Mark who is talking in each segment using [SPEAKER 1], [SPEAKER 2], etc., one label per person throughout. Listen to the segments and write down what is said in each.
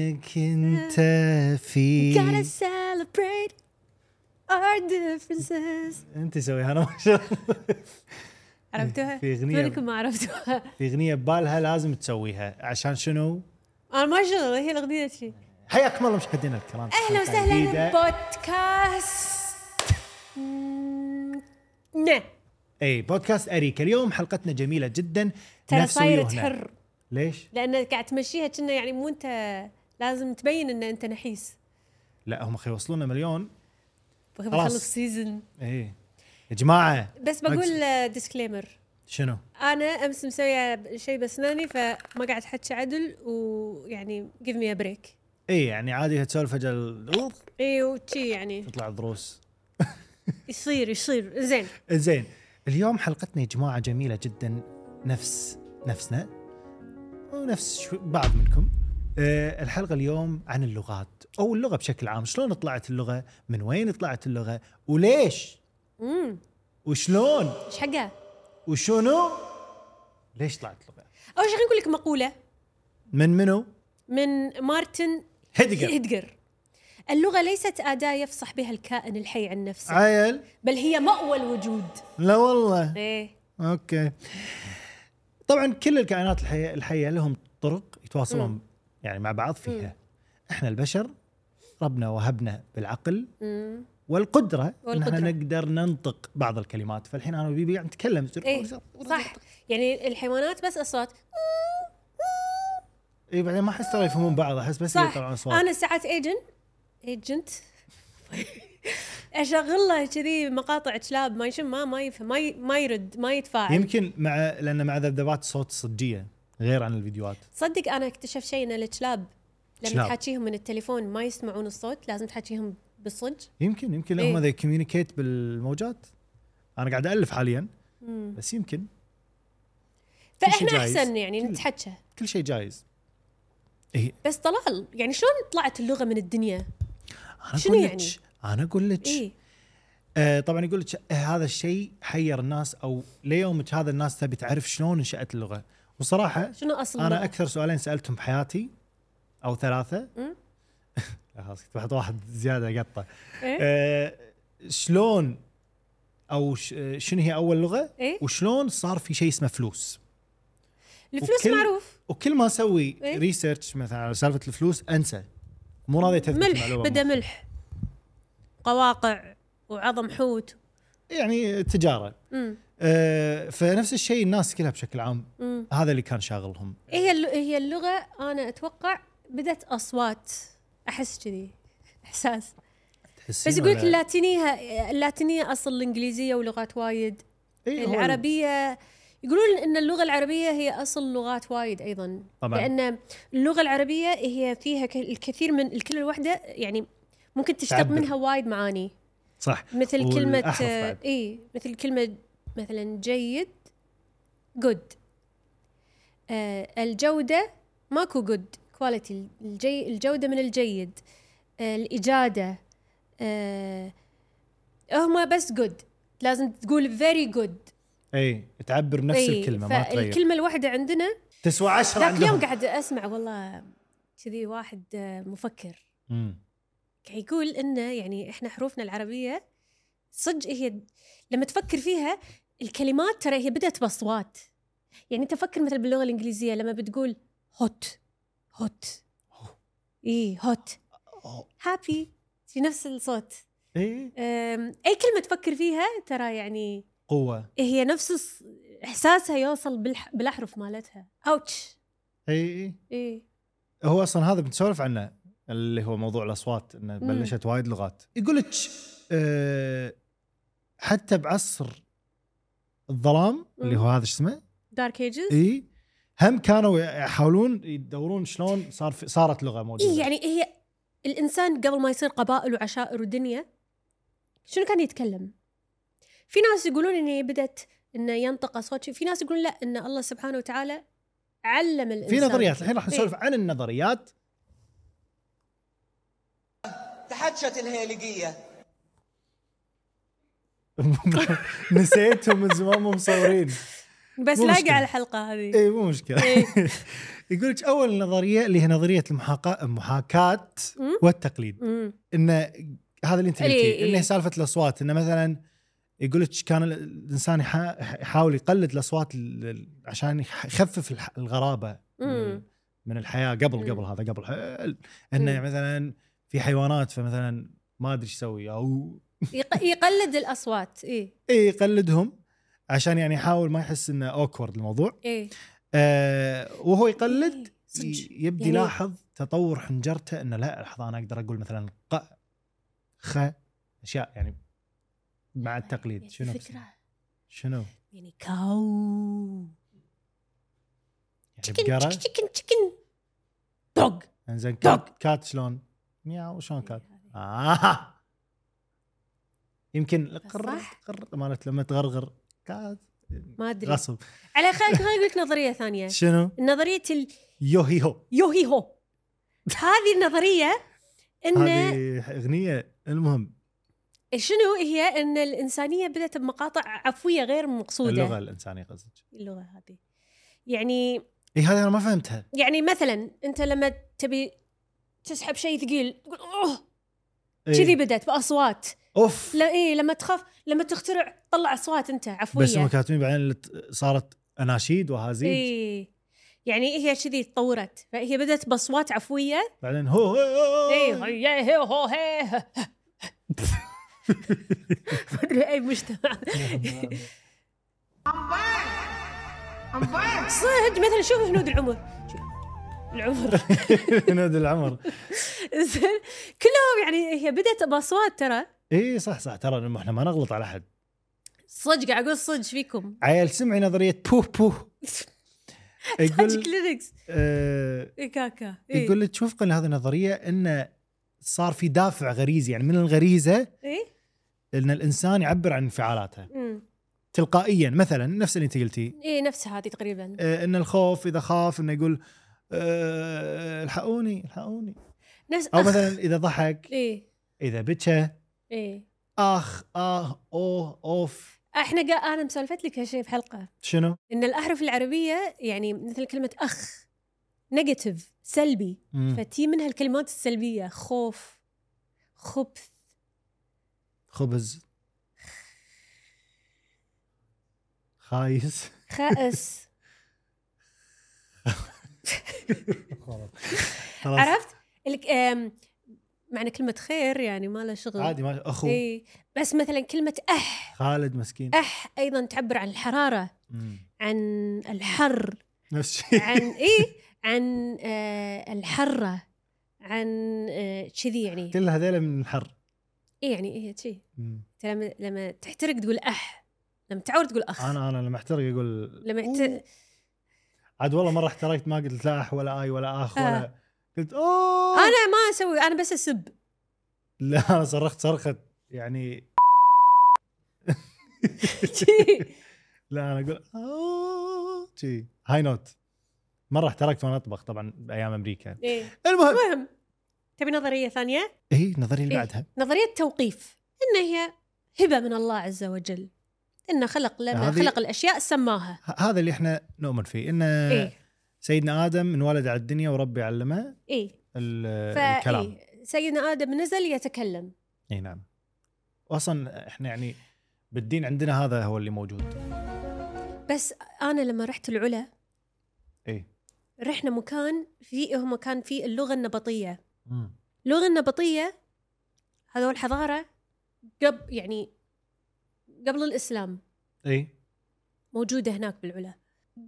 [SPEAKER 1] انت
[SPEAKER 2] gotta
[SPEAKER 1] فيه
[SPEAKER 2] celebrate our differences
[SPEAKER 1] انت سويها انا ما شاء الله.
[SPEAKER 2] عرفتوها؟
[SPEAKER 1] إيه، في أغنية-
[SPEAKER 2] منكم ما عرفتوها؟
[SPEAKER 1] في اغنيه ببالها لازم تسويها عشان شنو؟
[SPEAKER 2] انا ما شغل هي الاغنيه شي
[SPEAKER 1] حياكم الله مشاهدينا الكرام
[SPEAKER 2] اهلا
[SPEAKER 1] حلقة جديدة.
[SPEAKER 2] وسهلا بودكاست نعم. مم، نه
[SPEAKER 1] اي بودكاست اريك اليوم حلقتنا جميله جدا
[SPEAKER 2] ترى
[SPEAKER 1] نفس
[SPEAKER 2] صايره
[SPEAKER 1] ويوهنا.
[SPEAKER 2] حر
[SPEAKER 1] ليش؟
[SPEAKER 2] لانك قاعد تمشيها كنا يعني مو انت لازم تبين ان انت نحيس
[SPEAKER 1] لا هم خيوصلونا مليون
[SPEAKER 2] بخ-
[SPEAKER 1] خلاص.
[SPEAKER 2] بخلص سيزون
[SPEAKER 1] اي يا جماعه
[SPEAKER 2] بس بقول آه، ديسكليمر
[SPEAKER 1] شنو؟
[SPEAKER 2] انا امس مسويه شيء بسناني فما قاعد احكي عدل ويعني جيف مي بريك
[SPEAKER 1] اي يعني عادي تسولف اجل أوه،
[SPEAKER 2] اي وشي يعني
[SPEAKER 1] تطلع الضروس
[SPEAKER 2] يصير يصير زين
[SPEAKER 1] زين اليوم حلقتنا يا جماعه جميله جدا نفس نفسنا ونفس شو- بعض منكم أه الحلقه اليوم عن اللغات او اللغه بشكل عام شلون طلعت اللغه من وين طلعت اللغه وليش
[SPEAKER 2] امم
[SPEAKER 1] وشلون
[SPEAKER 2] ايش حقها؟
[SPEAKER 1] وشنو ليش طلعت اللغه
[SPEAKER 2] اول شيء خليني اقول لك مقوله
[SPEAKER 1] من منو
[SPEAKER 2] من مارتن
[SPEAKER 1] هدقر
[SPEAKER 2] هيدجر اللغه ليست اداه يفصح بها الكائن الحي عن نفسه
[SPEAKER 1] عيل
[SPEAKER 2] بل هي ماوى الوجود
[SPEAKER 1] لا والله
[SPEAKER 2] ايه
[SPEAKER 1] اوكي طبعا كل الكائنات الحيه الحيه لهم طرق يتواصلون يعني مع بعض فيها احنا البشر ربنا وهبنا بالعقل
[SPEAKER 2] امم
[SPEAKER 1] والقدره,
[SPEAKER 2] والقدرة.
[SPEAKER 1] اننا نقدر ننطق بعض الكلمات فالحين انا وبيبي قاعد نتكلم
[SPEAKER 2] ايه صح يعني الحيوانات بس اصوات
[SPEAKER 1] اي إيه، بعدين ما احس ترى يفهمون بعض احس بس
[SPEAKER 2] صح
[SPEAKER 1] يطلعون اصوات
[SPEAKER 2] انا ساعات ايجن ايجنت اشغل له كذي مقاطع كلاب ما يشم ما ما يفهم ما, ي... ما يرد ما يتفاعل
[SPEAKER 1] يمكن مع لان مع ذبذبات صوت صجيه غير عن الفيديوهات
[SPEAKER 2] تصدق انا اكتشفت شيء ان الكلاب لما
[SPEAKER 1] كلاب.
[SPEAKER 2] تحاكيهم من التليفون ما يسمعون الصوت لازم تحاكيهم بالصج
[SPEAKER 1] يمكن يمكن
[SPEAKER 2] إيه.
[SPEAKER 1] هم ذي كوميونيكيت بالموجات انا قاعد الف حاليا بس يمكن
[SPEAKER 2] فاحنا
[SPEAKER 1] جايز.
[SPEAKER 2] احسن يعني
[SPEAKER 1] كل-
[SPEAKER 2] نتحكى
[SPEAKER 1] كل شيء جايز اي
[SPEAKER 2] بس طلال يعني شلون طلعت اللغه من الدنيا؟
[SPEAKER 1] انا
[SPEAKER 2] شنو
[SPEAKER 1] اقول
[SPEAKER 2] يعني؟ إيه.
[SPEAKER 1] لك انا اقول لك
[SPEAKER 2] اي
[SPEAKER 1] آه طبعا يقول لك آه هذا الشيء حير الناس او ليومك هذا الناس تبي تعرف شلون انشات اللغه وصراحه
[SPEAKER 2] شنو اصل
[SPEAKER 1] انا
[SPEAKER 2] اللغه؟
[SPEAKER 1] اكثر سؤالين سالتهم بحياتي او ثلاثه
[SPEAKER 2] مم.
[SPEAKER 1] لا خلاص كنت بحط واحد زياده قطه
[SPEAKER 2] إيه؟
[SPEAKER 1] آه شلون او ش- آه، شنو هي اول لغه
[SPEAKER 2] إيه؟
[SPEAKER 1] وشلون صار في شيء اسمه فلوس
[SPEAKER 2] الفلوس
[SPEAKER 1] وكل-
[SPEAKER 2] معروف
[SPEAKER 1] وكل ما اسوي
[SPEAKER 2] إيه؟
[SPEAKER 1] ريسيرش مثلا على سالفه الفلوس انسى مو راضي تثبت
[SPEAKER 2] ملح
[SPEAKER 1] المعلومة.
[SPEAKER 2] بدا ملح قواقع وعظم حوت
[SPEAKER 1] يعني تجاره
[SPEAKER 2] امم
[SPEAKER 1] آه، فنفس الشيء الناس كلها بشكل عام
[SPEAKER 2] امم
[SPEAKER 1] هذا اللي كان شاغلهم
[SPEAKER 2] إيه، هي الل- هي اللغه انا اتوقع بدت اصوات احس كذي احساس
[SPEAKER 1] تحسين
[SPEAKER 2] بس يقول لك
[SPEAKER 1] ولا-
[SPEAKER 2] اللاتينيه اللاتينيه اصل الانجليزيه ولغات وايد
[SPEAKER 1] إيه، هو
[SPEAKER 2] العربيه يقولون ان اللغه العربيه هي اصل لغات وايد ايضا
[SPEAKER 1] طبعاً.
[SPEAKER 2] لان اللغه العربيه هي فيها ك- الكثير من الكلمه الواحده يعني ممكن تشتق
[SPEAKER 1] تعبر.
[SPEAKER 2] منها وايد معاني
[SPEAKER 1] صح
[SPEAKER 2] مثل كلمه
[SPEAKER 1] والأحرف بعد.
[SPEAKER 2] اي مثل كلمه مثلا جيد جود آه الجوده ماكو جود كواليتي الجي الجوده من الجيد آه الاجاده آه هما بس جود لازم تقول فيري جود
[SPEAKER 1] اي إيه، تعبر نفس
[SPEAKER 2] إي،
[SPEAKER 1] الكلمه ما تغير
[SPEAKER 2] فالكلمة الواحدة عندنا
[SPEAKER 1] تسوى 10
[SPEAKER 2] إيه، ذاك اليوم
[SPEAKER 1] عندهم
[SPEAKER 2] قاعد اسمع والله كذي واحد آه، مفكر
[SPEAKER 1] مم.
[SPEAKER 2] قاعد يقول انه يعني احنا حروفنا العربية صدق هي لما تفكر فيها الكلمات ترى هي بدأت باصوات يعني انت فكر مثلا باللغة الانجليزية لما بتقول هوت هوت
[SPEAKER 1] Oh.
[SPEAKER 2] اي هوت
[SPEAKER 1] أوه.
[SPEAKER 2] هابي في نفس الصوت
[SPEAKER 1] اي
[SPEAKER 2] أم، اي كلمة تفكر فيها ترى يعني
[SPEAKER 1] قوه
[SPEAKER 2] هي نفس الص- احساسها يوصل بالح... بالاحرف مالتها اوتش
[SPEAKER 1] اي اي
[SPEAKER 2] ايه
[SPEAKER 1] إيه، هو اصلا هذا بنسولف عنه اللي هو موضوع الاصوات انه
[SPEAKER 2] مم.
[SPEAKER 1] بلشت وايد لغات يقول لك آه حتى بعصر الظلام اللي
[SPEAKER 2] مم.
[SPEAKER 1] هو هذا شو اسمه
[SPEAKER 2] دارك ايجز اي
[SPEAKER 1] اي هم كانوا يحاولون يدورون شلون صار في صارت لغه موجوده
[SPEAKER 2] إيه يعني هي الانسان قبل ما يصير قبائل وعشائر ودنيا شنو كان يتكلم؟ في ناس يقولون ان هي بدت انه ينطق اصوات شي- في ناس يقولون لا ان الله سبحانه وتعالى علم الانسان
[SPEAKER 1] في نظريات الحين راح
[SPEAKER 2] إيه.
[SPEAKER 1] نسولف عن النظريات
[SPEAKER 3] تحدشت الهيلقية
[SPEAKER 1] نسيتهم من زمان مو مصورين
[SPEAKER 2] بس
[SPEAKER 1] مو
[SPEAKER 2] لاقي
[SPEAKER 1] مشكلة.
[SPEAKER 2] على الحلقه هذه
[SPEAKER 1] إيه. اي مو مشكله
[SPEAKER 2] إيه.
[SPEAKER 1] يقول لك اول نظريه اللي هي نظريه المحاكاه المحاكاه والتقليد
[SPEAKER 2] مم.
[SPEAKER 1] ان هذا اللي انت
[SPEAKER 2] إي-
[SPEAKER 1] قلتيه
[SPEAKER 2] إي.
[SPEAKER 1] انه سالفه الاصوات انه مثلا يقول لك كان ال- الانسان يحا- يحاول يقلد الاصوات ال- ال- عشان يخ- يخفف الح- الغرابه من ال-
[SPEAKER 2] مم.
[SPEAKER 1] من الحياه قبل
[SPEAKER 2] مم.
[SPEAKER 1] قبل هذا قبل ح- انه
[SPEAKER 2] مم.
[SPEAKER 1] مثلا في حيوانات فمثلا ما ادري ايش يسوي او
[SPEAKER 2] يق- يقلد إيه. الاصوات اي
[SPEAKER 1] إي يقلدهم عشان يعني يحاول ما يحس انه اوكورد الموضوع
[SPEAKER 2] اي
[SPEAKER 1] آه وهو يقلد إيه.
[SPEAKER 2] إي، إيه. صدق
[SPEAKER 1] يبدي
[SPEAKER 2] يعني-
[SPEAKER 1] يلاحظ تطور حنجرته انه لا لحظه انا اقدر اقول مثلا ق خ اشياء يعني مع التقليد
[SPEAKER 2] يعني
[SPEAKER 1] شنو
[SPEAKER 2] فكره
[SPEAKER 1] شنو؟
[SPEAKER 2] يعني كاو
[SPEAKER 1] يعني
[SPEAKER 2] تشكن
[SPEAKER 1] بقره
[SPEAKER 2] تشكن تشكن دوغ
[SPEAKER 1] انزين
[SPEAKER 2] دوغ.
[SPEAKER 1] كات كات شلون؟ مياو شلون كات؟ آه يمكن قر
[SPEAKER 2] صح.
[SPEAKER 1] قر مالت لما تغرغر كات
[SPEAKER 2] ما ادري
[SPEAKER 1] غصب
[SPEAKER 2] على خليك خليني اقول لك نظريه ثانيه
[SPEAKER 1] شنو؟
[SPEAKER 2] نظريه
[SPEAKER 1] يو هي هو
[SPEAKER 2] اليوهي هو هذه النظريه ان
[SPEAKER 1] هذه اغنيه المهم
[SPEAKER 2] شنو هي ان الانسانيه بدات بمقاطع عفويه غير مقصوده
[SPEAKER 1] اللغه الانسانيه قصدك
[SPEAKER 2] اللغه هذه يعني
[SPEAKER 1] اي هذه انا ما فهمتها
[SPEAKER 2] يعني مثلا انت لما تبي تسحب شيء ثقيل تقول اوه
[SPEAKER 1] إي.
[SPEAKER 2] كذي بدات باصوات
[SPEAKER 1] اوف
[SPEAKER 2] لا ايه لما تخاف لما تخترع طلع اصوات انت عفويه
[SPEAKER 1] بس هم كاتبين بعدين اللي ت- صارت اناشيد وهازيج إيه.
[SPEAKER 2] ايه يعني هي كذي تطورت فهي بدات باصوات عفويه
[SPEAKER 1] بعدين هو
[SPEAKER 2] ايه هي هي هو هي ما ادري اي مجتمع صدق مثلا شوف هنود العمر شوف العمر
[SPEAKER 1] نود العمر
[SPEAKER 2] زين كلهم يعني هي بدات باصوات ترى
[SPEAKER 1] اي صح صح ترى لما احنا ما نغلط على احد
[SPEAKER 2] صدق قاعد اقول صدق فيكم
[SPEAKER 1] عيل سمعي نظريه بوه بوه
[SPEAKER 2] هاجيك
[SPEAKER 1] يقول
[SPEAKER 2] لينكس
[SPEAKER 1] آه
[SPEAKER 2] إيه كاكا إيه.
[SPEAKER 1] يقول لك شوف قل هذه النظريه انه صار في دافع غريزي يعني من الغريزه
[SPEAKER 2] ايه
[SPEAKER 1] ان الانسان يعبر عن انفعالاته
[SPEAKER 2] أمم.
[SPEAKER 1] تلقائيا مثلا نفس اللي انت قلتيه
[SPEAKER 2] ايه نفسها هذه تقريبا
[SPEAKER 1] آه، ان الخوف اذا خاف انه يقول آه، الحقوني الحقوني
[SPEAKER 2] نفس
[SPEAKER 1] او
[SPEAKER 2] أخ.
[SPEAKER 1] مثلا اذا ضحك
[SPEAKER 2] ايه
[SPEAKER 1] اذا بكى
[SPEAKER 2] ايه
[SPEAKER 1] اخ اه اوه اوف
[SPEAKER 2] احنا قا... انا مسولفت لك هالشيء في حلقه
[SPEAKER 1] شنو؟
[SPEAKER 2] ان الاحرف العربيه يعني مثل كلمه اخ نيجاتيف سلبي
[SPEAKER 1] مم.
[SPEAKER 2] فتي منها الكلمات السلبيه خوف خبث
[SPEAKER 1] خبز خايس
[SPEAKER 2] خائس
[SPEAKER 1] خلاص
[SPEAKER 2] عرفت الك... أم... معنى كلمه خير يعني ما لها شغل
[SPEAKER 1] عادي ما اخو
[SPEAKER 2] اي بس مثلا كلمه اح
[SPEAKER 1] خالد مسكين
[SPEAKER 2] اح ايضا تعبر عن الحراره
[SPEAKER 1] مم.
[SPEAKER 2] عن الحر
[SPEAKER 1] نفس الشيء
[SPEAKER 2] عن اي عن آه الحره عن آه كذي يعني
[SPEAKER 1] كل هذيلا من الحر
[SPEAKER 2] اي يعني هي كذي
[SPEAKER 1] مم.
[SPEAKER 2] أنت لما لما تحترق تقول اح لما تعور تقول اخ
[SPEAKER 1] انا انا لما احترق اقول
[SPEAKER 2] لما
[SPEAKER 1] أوه.
[SPEAKER 2] يحت...
[SPEAKER 1] عاد والله مره احترقت ما قلت لا اح ولا اي ولا اخ
[SPEAKER 2] آه.
[SPEAKER 1] ولا قلت اوه
[SPEAKER 2] انا ما اسوي انا بس اسب
[SPEAKER 1] لا انا صرخت صرخه يعني لا انا اقول اوه شي هاي نوت مره احترقت وانا اطبخ طبعا بايام امريكا
[SPEAKER 2] إيه.
[SPEAKER 1] المهم
[SPEAKER 2] المهم تبي نظريه ثانيه
[SPEAKER 1] هي النظريه اللي
[SPEAKER 2] إيه.
[SPEAKER 1] بعدها
[SPEAKER 2] نظريه التوقيف ان هي هبه من الله عز وجل انه خلق لما
[SPEAKER 1] هذه-
[SPEAKER 2] خلق الاشياء سماها
[SPEAKER 1] ه- هذا اللي احنا نؤمن فيه ان
[SPEAKER 2] ايه
[SPEAKER 1] سيدنا ادم انولد على الدنيا وربي علمه
[SPEAKER 2] ايه
[SPEAKER 1] ال-
[SPEAKER 2] ف...
[SPEAKER 1] الكلام
[SPEAKER 2] إيه. سيدنا ادم نزل يتكلم
[SPEAKER 1] اي نعم واصلا احنا يعني بالدين عندنا هذا هو اللي موجود
[SPEAKER 2] بس انا لما رحت العلا
[SPEAKER 1] اي
[SPEAKER 2] رحنا مكان في هم كان في اللغة النبطية اللغة النبطية هذول حضارة قبل يعني قبل الإسلام
[SPEAKER 1] اي
[SPEAKER 2] موجودة هناك بالعلا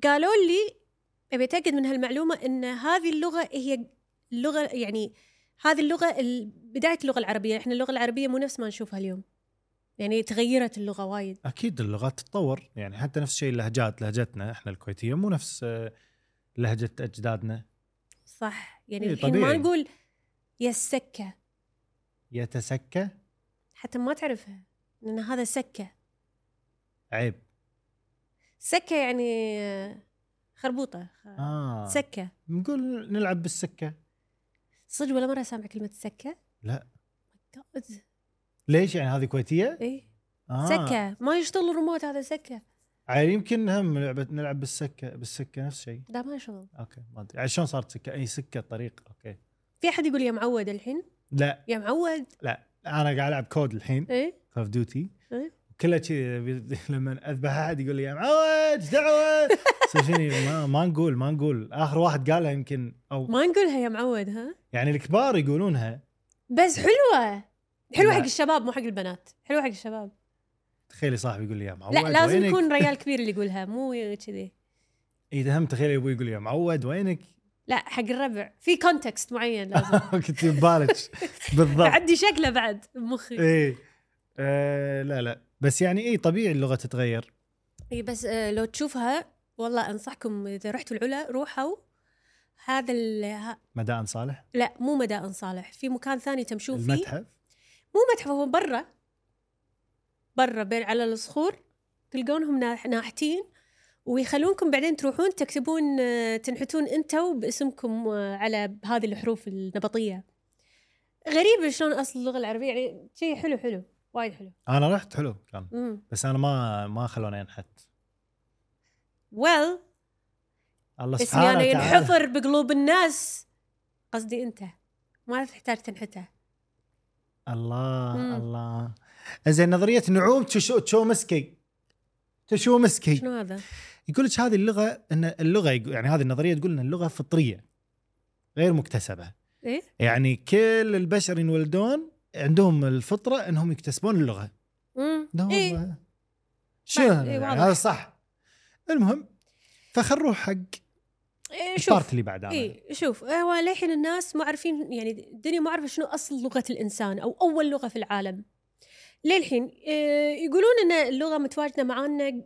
[SPEAKER 2] قالوا لي أبي أتأكد من هالمعلومة أن هذه اللغة هي اللغة يعني هذه اللغة ال- بداية اللغة العربية إحنا اللغة العربية مو نفس ما نشوفها اليوم يعني تغيرت اللغة وايد
[SPEAKER 1] اكيد اللغات تتطور يعني حتى نفس الشيء اللهجات لهجتنا احنا الكويتيه مو نفس آه، لهجه اجدادنا
[SPEAKER 2] صح يعني
[SPEAKER 1] إيه،
[SPEAKER 2] الحين ما
[SPEAKER 1] طبيعي.
[SPEAKER 2] نقول يا السكة
[SPEAKER 1] يتسكى
[SPEAKER 2] حتى ما تعرفها لأن هذا سكة
[SPEAKER 1] عيب
[SPEAKER 2] سكة يعني آه، خربوطة خ-
[SPEAKER 1] اه
[SPEAKER 2] سكة
[SPEAKER 1] نقول نلعب بالسكه
[SPEAKER 2] صدق ولا مرة سامع كلمة سكة؟ Oh
[SPEAKER 1] لا.
[SPEAKER 2] God.
[SPEAKER 1] ليش يعني هذه كويتيه
[SPEAKER 2] ايه
[SPEAKER 1] آه.
[SPEAKER 2] سكة ما يشتغل الريموت هذا سكة
[SPEAKER 1] على يمكن هم لعبه نلعب بالسكه بالسكه نفس الشيء
[SPEAKER 2] لا ما شغل
[SPEAKER 1] اوكي ما ادري يعني شلون صارت سكه اي سكه طريق اوكي
[SPEAKER 2] في احد يقول يا معود الحين
[SPEAKER 1] لا
[SPEAKER 2] يا معود
[SPEAKER 1] لا انا قاعد العب كود الحين
[SPEAKER 2] ايه
[SPEAKER 1] كول اوف ديوتي
[SPEAKER 2] إيه.
[SPEAKER 1] كله شي لما اذبح احد يقول لي يا معود إيش دعوه يصير فيني ما, ما نقول ما نقول اخر واحد قالها يمكن او
[SPEAKER 2] ما نقولها يا معود ها
[SPEAKER 1] يعني الكبار يقولونها
[SPEAKER 2] بس حلوه حلوه
[SPEAKER 1] لا.
[SPEAKER 2] حق الشباب مو حق البنات حلوه حق الشباب
[SPEAKER 1] تخيلي صاحبي يقول لي يا معود
[SPEAKER 2] لا لازم
[SPEAKER 1] وينك؟
[SPEAKER 2] يكون ريال كبير اللي يقولها مو كذي
[SPEAKER 1] اذا هم تخيلي ابوي يقول لي يا معود وينك
[SPEAKER 2] لا حق الربع في كونتكست معين لازم
[SPEAKER 1] كنت ببالك بالضبط
[SPEAKER 2] عندي شكله بعد بمخي
[SPEAKER 1] ايه آه لا لا بس يعني ايه طبيعي اللغه تتغير
[SPEAKER 2] اي بس آه، لو تشوفها والله انصحكم اذا رحتوا العلا روحوا هذا ال... ه-
[SPEAKER 1] مدائن صالح
[SPEAKER 2] لا مو مدائن صالح في مكان ثاني تمشون فيه
[SPEAKER 1] المتحف
[SPEAKER 2] مو متحف هو برا برا بين على الصخور تلقونهم ناح- ناحتين ويخلونكم بعدين تروحون تكتبون آه، تنحتون انتوا باسمكم آه، على هذه الحروف النبطيه غريب شلون اصل اللغه العربيه يعني شيء حلو حلو وايد حلو
[SPEAKER 1] انا رحت حلو كان
[SPEAKER 2] امم
[SPEAKER 1] بس انا ما ما خلوني انحت
[SPEAKER 2] ويل
[SPEAKER 1] الله سبحانه
[SPEAKER 2] اسميانا
[SPEAKER 1] وتعالى
[SPEAKER 2] ينحفر بقلوب الناس قصدي انت ما تحتاج تنحته
[SPEAKER 1] الله
[SPEAKER 2] مم.
[SPEAKER 1] الله زين نظريه نعوم تشو تشو مسكي تشو مسكي
[SPEAKER 2] شنو هذا؟
[SPEAKER 1] يقول لك هذه اللغه ان اللغه يقو- يعني هذه النظريه تقول ان اللغه فطريه غير مكتسبه
[SPEAKER 2] ايه
[SPEAKER 1] يعني كل البشر ينولدون عندهم الفطره انهم يكتسبون اللغه
[SPEAKER 2] امم
[SPEAKER 1] لا
[SPEAKER 2] ايه
[SPEAKER 1] والله. شو هذا؟
[SPEAKER 2] إيه،
[SPEAKER 1] يعني
[SPEAKER 2] واضح.
[SPEAKER 1] هذا صح المهم فخل نروح حق
[SPEAKER 2] إيه، شوف
[SPEAKER 1] البارت اللي بعد انا إيه؟
[SPEAKER 2] اي شوف هو للحين الناس ما عارفين يعني الدنيا ما عارفه شنو اصل لغه الانسان او اول لغه في العالم للحين إيه، يقولون ان اللغه متواجده معانا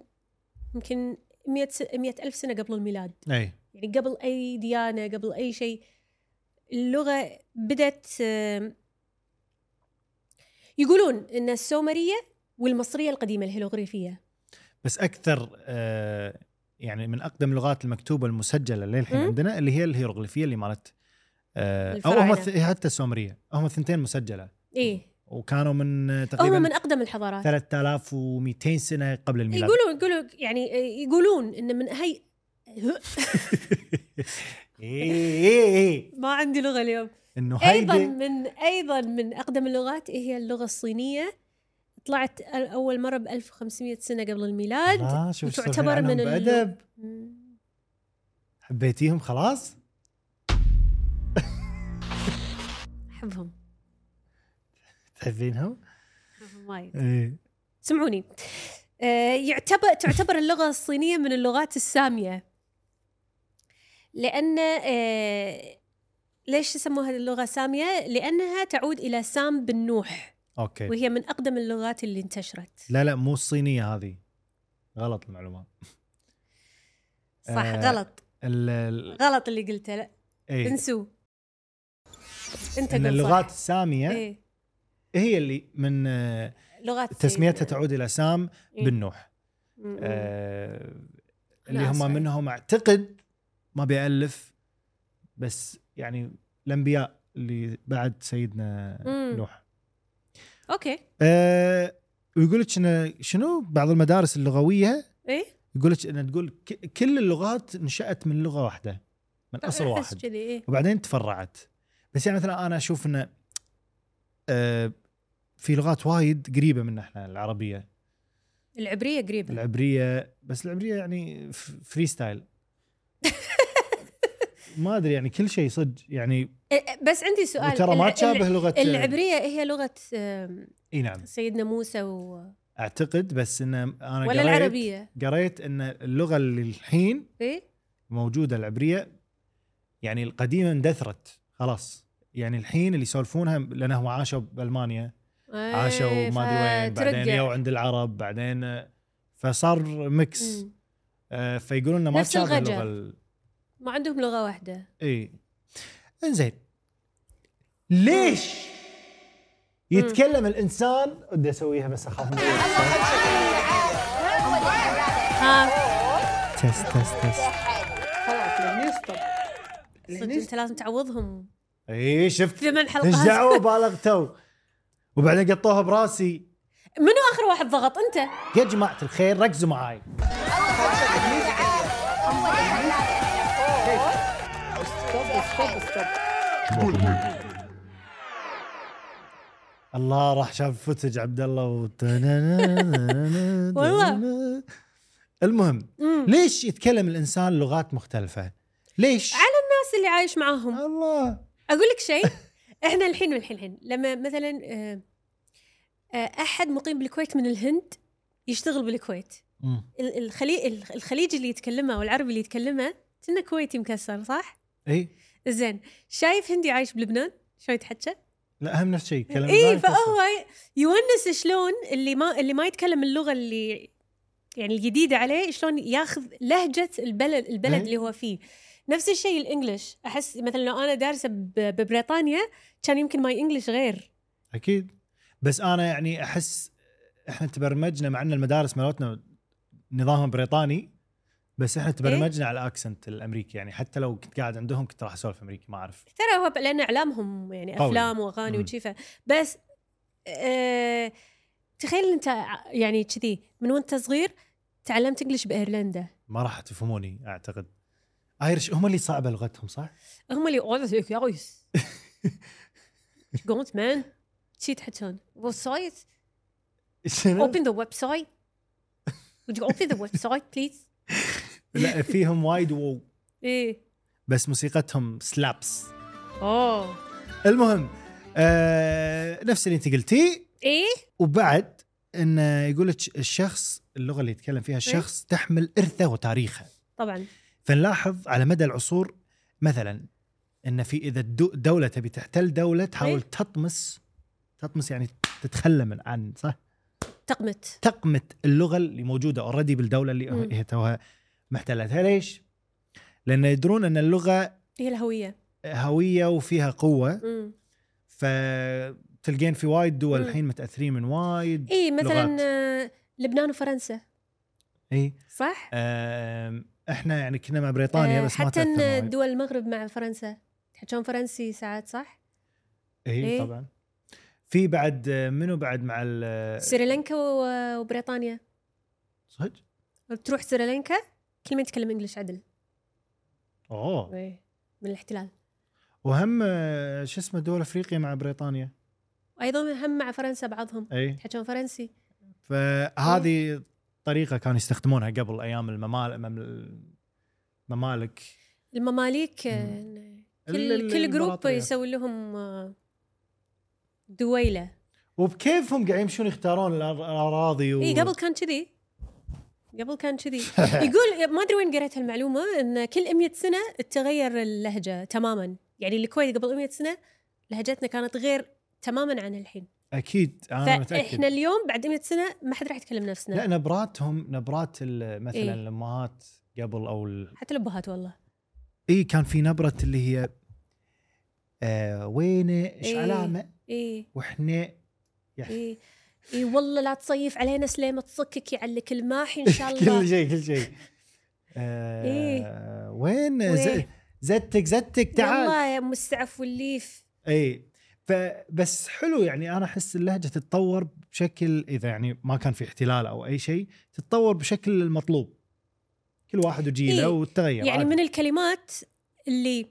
[SPEAKER 2] يمكن 100 100 الف سنه قبل الميلاد
[SPEAKER 1] اي
[SPEAKER 2] يعني قبل اي ديانه قبل اي شيء اللغه بدت آم، يقولون ان السومريه والمصريه القديمه الهيروغليفيه
[SPEAKER 1] بس اكثر آه يعني من اقدم اللغات المكتوبه المسجله للحين
[SPEAKER 2] مم.
[SPEAKER 1] عندنا اللي هي الهيروغليفيه اللي مالت آه او
[SPEAKER 2] الفراعنة.
[SPEAKER 1] هم الث- حتى السومريه هم الثنتين مسجله
[SPEAKER 2] ايه
[SPEAKER 1] وكانوا من آه،
[SPEAKER 2] هم
[SPEAKER 1] تقريبا
[SPEAKER 2] من اقدم الحضارات
[SPEAKER 1] 3200 سنه قبل الميلاد
[SPEAKER 2] يقولون يقولون يعني يقولون ان من هي
[SPEAKER 1] اي اي اي
[SPEAKER 2] ما عندي لغه اليوم
[SPEAKER 1] انه
[SPEAKER 2] ايضا
[SPEAKER 1] هيدي
[SPEAKER 2] من ايضا من اقدم اللغات هي اللغه الصينيه طلعت اول مره ب 1500 سنه قبل الميلاد
[SPEAKER 1] آه شوف شو سولفنا
[SPEAKER 2] تعتبر
[SPEAKER 1] عنهم
[SPEAKER 2] من ال-
[SPEAKER 1] بأدب. حبيتيهم خلاص
[SPEAKER 2] احبهم
[SPEAKER 1] تحبينهم
[SPEAKER 2] أحبهم وايد
[SPEAKER 1] ايه
[SPEAKER 2] سمعوني آه، يعتبر تعتبر اللغة الصينية من اللغات السامية لأن آه، ليش سموها اللغة سامية؟ لأنها تعود إلى سام بن نوح
[SPEAKER 1] اوكي
[SPEAKER 2] وهي من أقدم اللغات اللي انتشرت
[SPEAKER 1] لا لا مو الصينيه هذه غلط المعلومه
[SPEAKER 2] صح
[SPEAKER 1] آه،
[SPEAKER 2] غلط
[SPEAKER 1] ال ال
[SPEAKER 2] غلط اللي قلته لا
[SPEAKER 1] ايه
[SPEAKER 2] انسوه أنت
[SPEAKER 1] ان
[SPEAKER 2] قلت
[SPEAKER 1] اللغات
[SPEAKER 2] صح.
[SPEAKER 1] الساميه إيه؟
[SPEAKER 2] إيه
[SPEAKER 1] هي اللي من آه،
[SPEAKER 2] لغات إيه.
[SPEAKER 1] تسميتها تعود الى سام بن نوح
[SPEAKER 2] بن
[SPEAKER 1] آه اللي
[SPEAKER 2] أنا آسفة.
[SPEAKER 1] هم منهم اعتقد ما بيالف بس يعني الانبياء اللي بعد سيدنا
[SPEAKER 2] مم.
[SPEAKER 1] نوح
[SPEAKER 2] أوكي
[SPEAKER 1] آه ويقول لك إن شنو بعض المدارس اللغويه
[SPEAKER 2] إيه
[SPEAKER 1] يقول لك ان تقول ك- كل اللغات نشات من لغه واحده من اصل
[SPEAKER 2] طيب، أحس
[SPEAKER 1] واحد
[SPEAKER 2] كذي إيه
[SPEAKER 1] وبعدين تفرعت بس يعني مثلا انا اشوف انه آه، في لغات وايد قريبه من احنا العربيه
[SPEAKER 2] العبرية قريبة
[SPEAKER 1] العبريه إيه. بس العبريه يعني ف- فري ستايل ما ادري يعني كل شيء صدق يعني
[SPEAKER 2] إيه، بس عندي سؤال
[SPEAKER 1] ترى ما
[SPEAKER 2] الع-
[SPEAKER 1] تشابه لغه
[SPEAKER 2] العبريه هي لغه آم،
[SPEAKER 1] اي نعم
[SPEAKER 2] سيدنا موسى و...
[SPEAKER 1] اعتقد بس انه انا
[SPEAKER 2] ولا
[SPEAKER 1] قريت
[SPEAKER 2] العربيه
[SPEAKER 1] قريت ان اللغه اللي الحين
[SPEAKER 2] ايه
[SPEAKER 1] موجوده العبريه يعني القديمه اندثرت خلاص يعني الحين اللي يسولفونها لانهم عاشوا بالمانيا
[SPEAKER 2] إيه،
[SPEAKER 1] عاشوا ما
[SPEAKER 2] آه،
[SPEAKER 1] ادري وين بعدين يو عند العرب بعدين آه، فصار ميكس آه، فيقولون إنه ما
[SPEAKER 2] نفس
[SPEAKER 1] تشابه
[SPEAKER 2] الغجر.
[SPEAKER 1] اللغه ال-
[SPEAKER 2] ما عندهم لغه واحده
[SPEAKER 1] اي انزين ليش يتكلم الانسان بدي اسويها بس اخاف من
[SPEAKER 2] ها
[SPEAKER 1] تست تست تست
[SPEAKER 3] خلاص يعني يسطر
[SPEAKER 2] صدق انت لازم تعوضهم
[SPEAKER 1] اي إيه، شفت
[SPEAKER 2] ثمان
[SPEAKER 1] ايش
[SPEAKER 2] حلقات
[SPEAKER 1] دعوه بالغتوا وبعدين قطوها براسي
[SPEAKER 2] منو اخر واحد ضغط انت
[SPEAKER 1] يا جماعه الخير ركزوا معاي
[SPEAKER 3] ستوب ستوب
[SPEAKER 1] الله راح شاف فوتج عبد الله و...
[SPEAKER 2] والله.
[SPEAKER 1] المهم
[SPEAKER 2] مم.
[SPEAKER 1] ليش يتكلم الانسان لغات مختلفه؟ ليش؟
[SPEAKER 2] الناس اللي عايش معاهم
[SPEAKER 1] الله
[SPEAKER 2] اقول لك شيء احنا الحين والحين الحين لما مثلا آه، آه، احد مقيم بالكويت من الهند يشتغل بالكويت
[SPEAKER 1] مم.
[SPEAKER 2] ال- الخلي... ال- الخليجي اللي يتكلمه والعربي اللي يتكلمه كنا كويتي مكسر صح؟
[SPEAKER 1] اي
[SPEAKER 2] زين شايف هندي عايش بلبنان شو يتحكى؟
[SPEAKER 1] لا هم نفس الشيء كلام
[SPEAKER 2] اي إيه، فهو يونس شلون اللي ما اللي ما يتكلم اللغه اللي يعني الجديده عليه شلون ياخذ لهجه البلد البلد
[SPEAKER 1] إيه.
[SPEAKER 2] اللي هو فيه نفس الشيء الانجليش احس مثلا لو انا دارسه ب- ببريطانيا كان يمكن ماي انجليش غير
[SPEAKER 1] اكيد بس انا يعني احس احنا تبرمجنا مع ان المدارس مالتنا نظامها بريطاني بس احنا تبرمجنا على الاكسنت الامريكي يعني حتى لو كنت قاعد عندهم كنت راح اسولف امريكي ما اعرف
[SPEAKER 2] ترى هو لان اعلامهم يعني
[SPEAKER 1] قوي.
[SPEAKER 2] افلام واغاني
[SPEAKER 1] مم.
[SPEAKER 2] وشيفه بس أه تخيل انت ع- يعني كذي من وانت صغير تعلمت انجليش بايرلندا
[SPEAKER 1] ما راح تفهموني اعتقد ايرش هم اللي صعبه لغتهم صح؟
[SPEAKER 2] هم اللي اوه يا ريس قمت مان شي تحكون ويب سايت
[SPEAKER 1] شنو؟
[SPEAKER 2] اوبن ذا ويب سايت Would you open the website please؟
[SPEAKER 1] لا فيهم وايد وو
[SPEAKER 2] ايه
[SPEAKER 1] بس موسيقتهم سلابس
[SPEAKER 2] اوه
[SPEAKER 1] المهم آه نفس اللي انت قلتيه
[SPEAKER 2] ايه
[SPEAKER 1] وبعد انه يقول لك الشخص اللغه اللي يتكلم فيها الشخص تحمل ارثه وتاريخه
[SPEAKER 2] طبعا
[SPEAKER 1] فنلاحظ على مدى العصور مثلا ان في اذا الدو- الدوله تبي تحتل دوله تحاول
[SPEAKER 2] إيه.
[SPEAKER 1] تطمس تطمس يعني تتخلى من عن صح
[SPEAKER 2] تقمت
[SPEAKER 1] تقمة اللغه اللي موجوده اوريدي بالدوله اللي
[SPEAKER 2] مم.
[SPEAKER 1] هي توها محتلتها ليش؟ لان يدرون ان اللغه
[SPEAKER 2] هي الهويه
[SPEAKER 1] هويه وفيها قوه
[SPEAKER 2] امم
[SPEAKER 1] فتلقين في وايد دول
[SPEAKER 2] مم.
[SPEAKER 1] الحين متاثرين من وايد
[SPEAKER 2] ايه مثلا
[SPEAKER 1] لغات.
[SPEAKER 2] آه، لبنان وفرنسا
[SPEAKER 1] اي
[SPEAKER 2] صح؟
[SPEAKER 1] إيه. آم، احنا يعني كنا مع بريطانيا
[SPEAKER 2] آه،
[SPEAKER 1] بس ما
[SPEAKER 2] حتى إن
[SPEAKER 1] تاثرنا وايد.
[SPEAKER 2] دول المغرب مع فرنسا تحكون فرنسي ساعات صح؟
[SPEAKER 1] اي
[SPEAKER 2] إيه.
[SPEAKER 1] طبعا في بعد آه، منو بعد مع ال
[SPEAKER 2] سريلانكا و- وبريطانيا
[SPEAKER 1] صدق؟
[SPEAKER 2] تروح سريلانكا كل ما يتكلم انجلش عدل
[SPEAKER 1] اوه
[SPEAKER 2] من الاحتلال
[SPEAKER 1] وهم آه، شو اسمه دول افريقيا مع بريطانيا
[SPEAKER 2] وايضا هم مع فرنسا بعضهم
[SPEAKER 1] اي
[SPEAKER 2] يتحجون فرنسي إيه.
[SPEAKER 1] فهذه طريقه كانوا يستخدمونها قبل ايام الممالك الممالك
[SPEAKER 2] المماليك
[SPEAKER 1] مم.
[SPEAKER 2] آه،
[SPEAKER 1] ال- ال-
[SPEAKER 2] كل كل جروب
[SPEAKER 1] الإمبراطوريات.
[SPEAKER 2] يسوي لهم آه، دويله
[SPEAKER 1] وبكيفهم قاعد يمشون يختارون الأر- الاراضي و...
[SPEAKER 2] اي إيه، قبل كان كذي قبل كان كذي يقول ما ادري وين قريت هالمعلومه ان كل 100 سنه تغير اللهجه تماما يعني الكويت قبل 100 سنه لهجتنا كانت غير تماما عن الحين
[SPEAKER 1] اكيد انا متاكد
[SPEAKER 2] فاحنا اليوم بعد 100 سنه ما حد راح يتكلم نفسنا
[SPEAKER 1] لا نبراتهم نبرات ال- مثلا
[SPEAKER 2] إيه.
[SPEAKER 1] الامهات قبل او ال...
[SPEAKER 2] حتى الابهات والله
[SPEAKER 1] اي كان في نبره اللي هي آه وين ايش
[SPEAKER 2] إيه.
[SPEAKER 1] علامه
[SPEAKER 2] اي
[SPEAKER 1] واحنا
[SPEAKER 2] اي اي والله لا تصيف علينا سليمه تصكك يعلك الماحي ان شاء
[SPEAKER 1] كل
[SPEAKER 2] الله
[SPEAKER 1] شيء كل شيء آه
[SPEAKER 2] إيه.
[SPEAKER 1] وين ز-
[SPEAKER 2] وين؟
[SPEAKER 1] زتك زتك تعال
[SPEAKER 2] والله يا ام السعف والليف
[SPEAKER 1] اي فبس حلو يعني انا احس اللهجه تتطور بشكل اذا يعني ما كان في احتلال او اي شيء تتطور بشكل المطلوب كل واحد وجيله
[SPEAKER 2] إيه.
[SPEAKER 1] والتغير
[SPEAKER 2] يعني
[SPEAKER 1] عادي.
[SPEAKER 2] من الكلمات اللي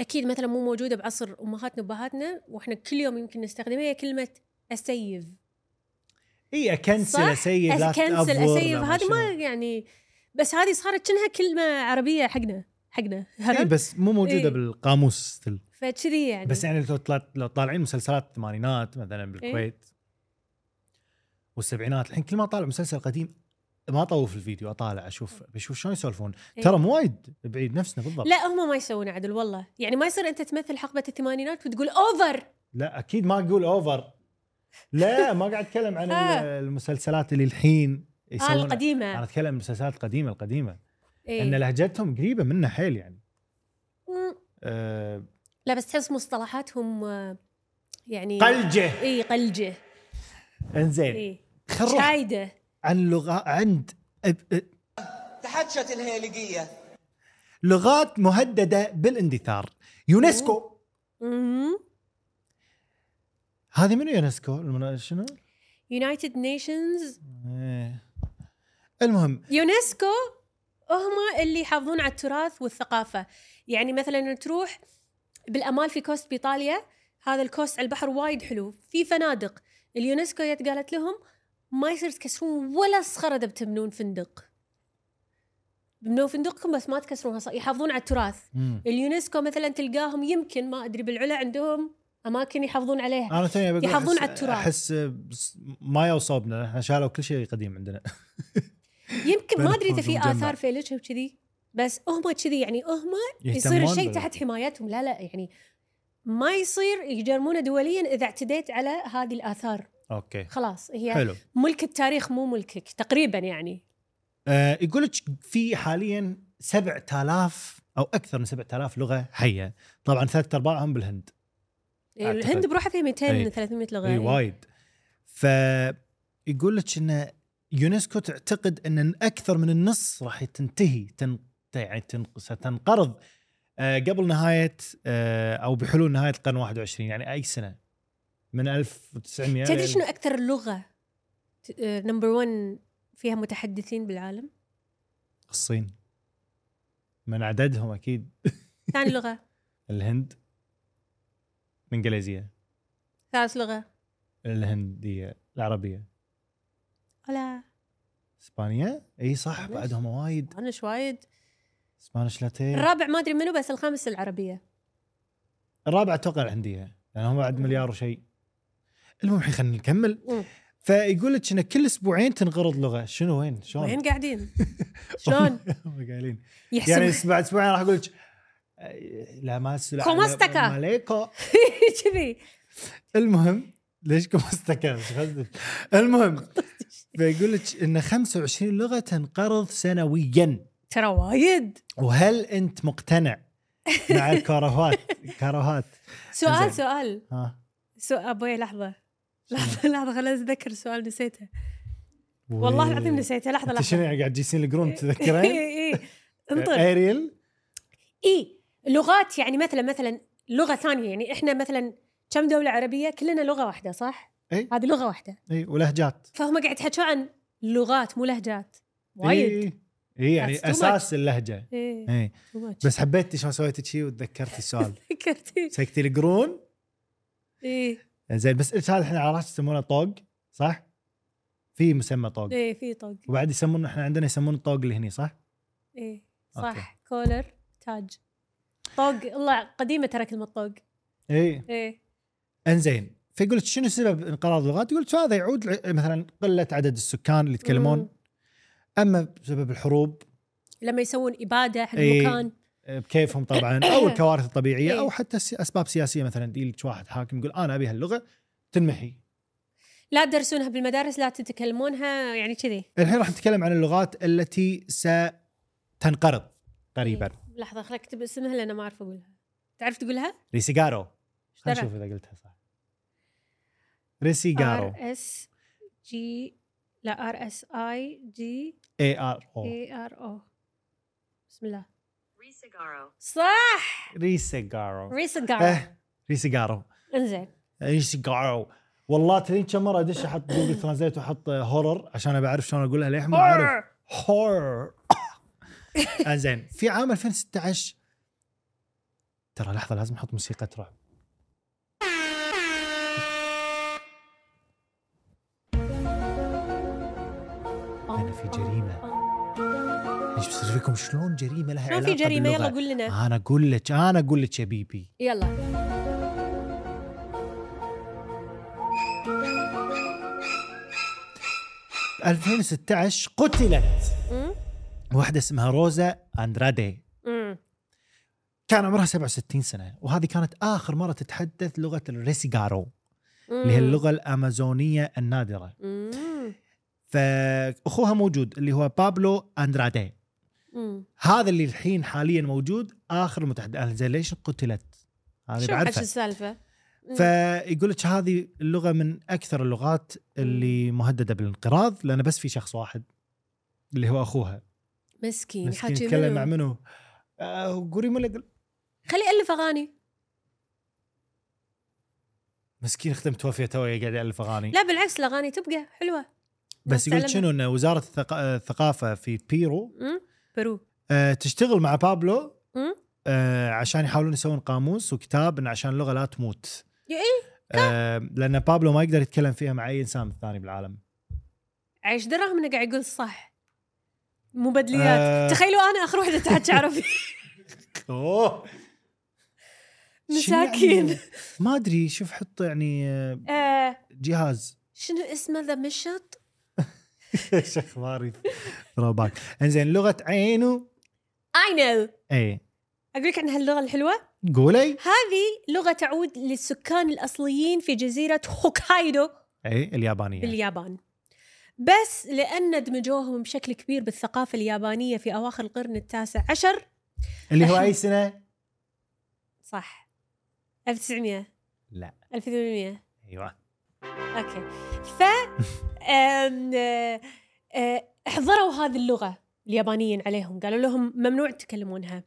[SPEAKER 2] اكيد مثلا مو موجوده بعصر امهاتنا وابهاتنا واحنا كل يوم يمكن نستخدمها هي كلمه اسيف
[SPEAKER 1] اي اكنسل
[SPEAKER 2] صح؟
[SPEAKER 1] اسيب لا
[SPEAKER 2] كنسل
[SPEAKER 1] تأفور، لا
[SPEAKER 2] اسيف
[SPEAKER 1] ما
[SPEAKER 2] هذه ما يعني بس هذه صارت كأنها كلمه عربيه حقنا حقنا
[SPEAKER 1] شنو. اي
[SPEAKER 2] عرفت؟
[SPEAKER 1] بس مو موجوده
[SPEAKER 2] إيه.
[SPEAKER 1] بالقاموس still.
[SPEAKER 2] فكذي يعني
[SPEAKER 1] بس يعني لو طلعت لو طالعين مسلسلات الثمانينات مثلا بالكويت والسبعينات الحين كل ما اطالع مسلسل قديم ما اطوف الفيديو اطالع اشوف بشوف شلون يسولفون
[SPEAKER 2] إيه.
[SPEAKER 1] ترى مو وايد بعيد نفسنا بالضبط
[SPEAKER 2] لا هم ما يسوون عدل والله يعني ما يصير انت تمثل حقبه الثمانينات وتقول اوفر
[SPEAKER 1] لا اكيد ما اقول اوفر لا ما قاعد اتكلم عن
[SPEAKER 2] آه.
[SPEAKER 1] المسلسلات اللي الحين
[SPEAKER 2] آه
[SPEAKER 1] يسوونها انا
[SPEAKER 2] القديمه
[SPEAKER 1] اتكلم عن المسلسلات القديمه القديمه
[SPEAKER 2] إيه.
[SPEAKER 1] ان لهجتهم قريبه منا حيل يعني
[SPEAKER 2] مم.
[SPEAKER 1] أه
[SPEAKER 2] لا بس تحس مصطلحاتهم آه، يعني إيه.
[SPEAKER 1] قلجه
[SPEAKER 2] اي قلجه
[SPEAKER 1] انزين
[SPEAKER 2] اي
[SPEAKER 1] خل نروح
[SPEAKER 2] شايده
[SPEAKER 1] عن لغه عند أب- أب-
[SPEAKER 4] تحدشت الهيلقية
[SPEAKER 1] لغات مهدده بالاندثار يونسكو
[SPEAKER 2] مم.
[SPEAKER 1] هذه منو يونسكو المنا- شنو
[SPEAKER 2] يونايتد نيشنز
[SPEAKER 1] إيه. المهم
[SPEAKER 2] يونسكو هم اللي يحافظون على التراث والثقافة يعني مثلا تروح بالامالفي كوست بايطاليا هذا الكوست على البحر وايد حلو في فنادق اليونسكو جت قالت لهم ما يصير تكسرون ولا صخره اذا بتبنون فندق بنوا فندقكم بس ما تكسرونها ص- يحافظون على التراث
[SPEAKER 1] مم.
[SPEAKER 2] اليونسكو مثلا تلقاهم يمكن ما ادري بالعلا عندهم اماكن يحافظون عليها
[SPEAKER 1] انا ثاني بقول
[SPEAKER 2] يحافظون
[SPEAKER 1] أحس-
[SPEAKER 2] على التراث.
[SPEAKER 1] احس بس- ما يوصبنا احنا شالوا كل شيء قديم عندنا
[SPEAKER 2] يمكن ما
[SPEAKER 1] بلد
[SPEAKER 2] ادري اذا في
[SPEAKER 1] مجمع.
[SPEAKER 2] اثار فيلجهم كذي بس هم كذي يعني هم يصير
[SPEAKER 1] يهتمون
[SPEAKER 2] الشيء
[SPEAKER 1] بال-
[SPEAKER 2] تحت حمايتهم لا لا يعني ما يصير يجرمونه دوليا اذا اعتديت على هذه الاثار
[SPEAKER 1] اوكي
[SPEAKER 2] خلاص هي حلو.
[SPEAKER 1] حلو
[SPEAKER 2] ملك التاريخ مو ملكك تقريبا يعني
[SPEAKER 1] آه يقول لك في حاليا 7000 او اكثر من 7000 لغه حيه طبعا ثلاث ارباعهم بالهند أعتقد.
[SPEAKER 2] الهند بروحها فيها 200
[SPEAKER 1] أي.
[SPEAKER 2] من 300 لغه
[SPEAKER 1] اي
[SPEAKER 2] يعني.
[SPEAKER 1] وايد فيقول لك ان يونسكو تعتقد ان اكثر من النص راح تنتهي تن يعني تن- ستنقرض آه، قبل نهايه آه، او بحلول نهايه القرن 21 يعني اي سنه من 1900
[SPEAKER 2] تدري شنو اكثر لغه نمبر 1 فيها متحدثين بالعالم
[SPEAKER 1] الصين من عددهم اكيد
[SPEAKER 2] ثاني لغه
[SPEAKER 1] الهند الانجليزيه
[SPEAKER 2] ثالث لغه
[SPEAKER 1] الهنديه العربيه
[SPEAKER 2] ولا
[SPEAKER 1] اسبانيا اي صح بعدهم وايد
[SPEAKER 2] انا شو وايد
[SPEAKER 1] إيه. سبانش لاتيه
[SPEAKER 2] الرابع ما ادري منو بس الخامس العربيه
[SPEAKER 1] الرابع اتوقع الهنديه لان هم بعد مليار وشيء المهم الحين خلينا نكمل
[SPEAKER 2] مم.
[SPEAKER 1] فيقول لك ان كل اسبوعين تنغرض لغه شنو وين شلون
[SPEAKER 2] وين قاعدين شلون
[SPEAKER 1] هم قايلين
[SPEAKER 2] يحسب
[SPEAKER 1] يعني بعد اسبوعين راح اقول لك لا ما سلا-
[SPEAKER 2] كومستكا.
[SPEAKER 1] ماليكو يعني
[SPEAKER 2] كذي
[SPEAKER 1] المهم ليش كومستكا ايش قصدك؟ المهم فيقول لك ان 25 لغه تنقرض سنويا
[SPEAKER 2] ترى وايد
[SPEAKER 1] وهل انت مقتنع مع الكرهات كرهات
[SPEAKER 2] سؤال
[SPEAKER 1] زين.
[SPEAKER 2] سؤال
[SPEAKER 1] ها
[SPEAKER 2] سؤال ابوي لحظه
[SPEAKER 1] شنو؟
[SPEAKER 2] لحظه لحظه خليني اتذكر سؤال نسيته والله العظيم نسيته لحظه
[SPEAKER 1] انت شنو يعني إيه.
[SPEAKER 2] لحظه
[SPEAKER 1] قاعد تجيسين القرون تذكرين؟
[SPEAKER 2] اي اي إيه، انطر
[SPEAKER 1] اريل
[SPEAKER 2] اي لغات يعني مثلا مثلا لغه ثانيه يعني احنا مثلا كم دوله عربيه كلنا لغه واحده صح؟
[SPEAKER 1] إي.
[SPEAKER 2] هذه لغه واحده
[SPEAKER 1] اي ولهجات
[SPEAKER 2] فهم قاعد يتحكوا عن لغات مو لهجات وايد إيه.
[SPEAKER 1] وايد اي يعني
[SPEAKER 2] That's too
[SPEAKER 1] اساس اللهجه
[SPEAKER 2] اي
[SPEAKER 1] اي
[SPEAKER 2] بس
[SPEAKER 1] إيه. بس حبيت شلون سويت شي وتذكرت السؤال
[SPEAKER 2] فكرتي
[SPEAKER 1] سكتي القرون
[SPEAKER 2] اي
[SPEAKER 1] زين بس إيش هذا احنا عرفت يسمونه طوق صح؟ في مسمى طوق
[SPEAKER 2] اي إيه، في طق
[SPEAKER 1] وبعد يسمون احنا عندنا يسمون الطوق اللي هني صح؟
[SPEAKER 2] اي
[SPEAKER 1] أوكي.
[SPEAKER 2] إيه. صح كولر تاج طوق الله قديمه ترى كلمه طوق
[SPEAKER 1] اي
[SPEAKER 2] ايه
[SPEAKER 1] انزين فيقول لك شنو سبب انقراض اللغات؟ يقول لك هذا يعود لع- مثلا قله عدد السكان اللي يتكلمون
[SPEAKER 2] مم.
[SPEAKER 1] اما بسبب الحروب
[SPEAKER 2] لما يسوون اباده حق
[SPEAKER 1] إيه.
[SPEAKER 2] المكان
[SPEAKER 1] آه، بكيفهم طبعا او الكوارث الطبيعيه
[SPEAKER 2] إيه.
[SPEAKER 1] او حتى الس- اسباب سياسيه مثلا يجيك واحد حاكم يقول انا ابي هاللغه تنمحي.
[SPEAKER 2] لا تدرسونها بالمدارس لا تتكلمونها يعني كذي
[SPEAKER 1] الحين راح نتكلم عن اللغات التي ستنقرض قريبا.
[SPEAKER 2] إيه. لحظه خليني اكتب اسمها لان ما اعرف اقولها تعرف تقولها؟
[SPEAKER 1] ريسيجارو خلينا
[SPEAKER 2] درى؟
[SPEAKER 1] نشوف اذا قلتها صح. ريسيجارو
[SPEAKER 2] ار اس جي لا ار اس اي جي
[SPEAKER 1] اي ار او
[SPEAKER 2] اي ار او بسم الله
[SPEAKER 5] Risagaro.
[SPEAKER 2] صح
[SPEAKER 1] ريسيجارو
[SPEAKER 2] ريسجار
[SPEAKER 1] اه ريسيجارو
[SPEAKER 2] انزين
[SPEAKER 1] ريسيجارو والله تدري كم مره ادش احط جوجل ترانزليت واحط هورر عشان ابى اعرف شلون اقولها للحين ما اعرف هور زين في عام 2016 ترى لحظه لازم احط موسيقى رعب لان في جريمه ايش بيصير فيكم شلون جريمه لها
[SPEAKER 2] شلون
[SPEAKER 1] علاقه
[SPEAKER 2] في جريمه يلا
[SPEAKER 1] باللغة؟
[SPEAKER 2] قول لنا
[SPEAKER 1] انا اقول لك انا اقول لك يا بيبي
[SPEAKER 2] يلا
[SPEAKER 1] ب 2016 قتلت
[SPEAKER 2] أمم.
[SPEAKER 1] واحده اسمها روزا اندرادي
[SPEAKER 2] أمم.
[SPEAKER 1] كان عمرها 67 سنه وهذه كانت اخر مره تتحدث لغه الريسيجارو اللي هي اللغه الامازونيه النادره
[SPEAKER 2] أمم.
[SPEAKER 1] فاخوها موجود اللي هو بابلو اندرادي
[SPEAKER 2] أمم.
[SPEAKER 1] هذا اللي الحين حاليا موجود اخر متحدث أنا زين ليش قتلت هذه
[SPEAKER 2] شو عاد شو
[SPEAKER 1] بعرفه
[SPEAKER 2] السالفه؟
[SPEAKER 1] فيقول لك هذه اللغه من اكثر اللغات اللي مهدده بالانقراض لان بس في شخص واحد اللي هو اخوها
[SPEAKER 2] مسكين
[SPEAKER 1] مسكين
[SPEAKER 2] حاجي
[SPEAKER 1] يتكلم مع
[SPEAKER 2] منو؟
[SPEAKER 1] منو؟ آه، قوري ملق
[SPEAKER 2] خليه يالف اغاني
[SPEAKER 1] مسكين اختم توفي تو قاعد يالف اغاني
[SPEAKER 2] لا بالعكس الاغاني تبقى حلوه
[SPEAKER 1] بس يقول
[SPEAKER 2] تعلمها.
[SPEAKER 1] شنو ان وزاره الثق- الثقافه في بيرو
[SPEAKER 2] أمم. برو
[SPEAKER 1] آه، تشتغل مع بابلو
[SPEAKER 2] أمم.
[SPEAKER 1] آه عشان يحاولون يسوون قاموس وكتاب إن عشان اللغه لا تموت
[SPEAKER 2] يا ايه
[SPEAKER 1] آه لان بابلو ما يقدر يتكلم فيها مع اي انسان ثاني بالعالم
[SPEAKER 2] عايش دراهم انه قاعد يقول صح مبادليات
[SPEAKER 1] آه.
[SPEAKER 2] آه. تخيلوا انا اخر وحده تحكي عربي
[SPEAKER 1] اوه
[SPEAKER 2] مساكين.
[SPEAKER 1] يعني؟ ما ادري شوف حط يعني آه،
[SPEAKER 2] آه
[SPEAKER 1] جهاز
[SPEAKER 2] شنو اسمه ذا مشط
[SPEAKER 1] ايش اخباري ثروباك انزين لغه عينو
[SPEAKER 2] اي نو
[SPEAKER 1] اي
[SPEAKER 2] اقول لك عن هاللغه الحلوه
[SPEAKER 1] قولي
[SPEAKER 2] هذه لغه تعود للسكان الاصليين في جزيره هوكايدو
[SPEAKER 1] اي اليابانيه
[SPEAKER 2] باليابان بس لان دمجوهم بشكل كبير بالثقافه اليابانيه في اواخر القرن التاسع عشر
[SPEAKER 1] اللي هو اي سنه
[SPEAKER 2] صح 1900
[SPEAKER 1] لا
[SPEAKER 2] 1800
[SPEAKER 1] ايوه
[SPEAKER 2] اوكي ف آم، آه، آه، احضروا هذه اللغه اليابانيين عليهم قالوا لهم ممنوع تكلمونها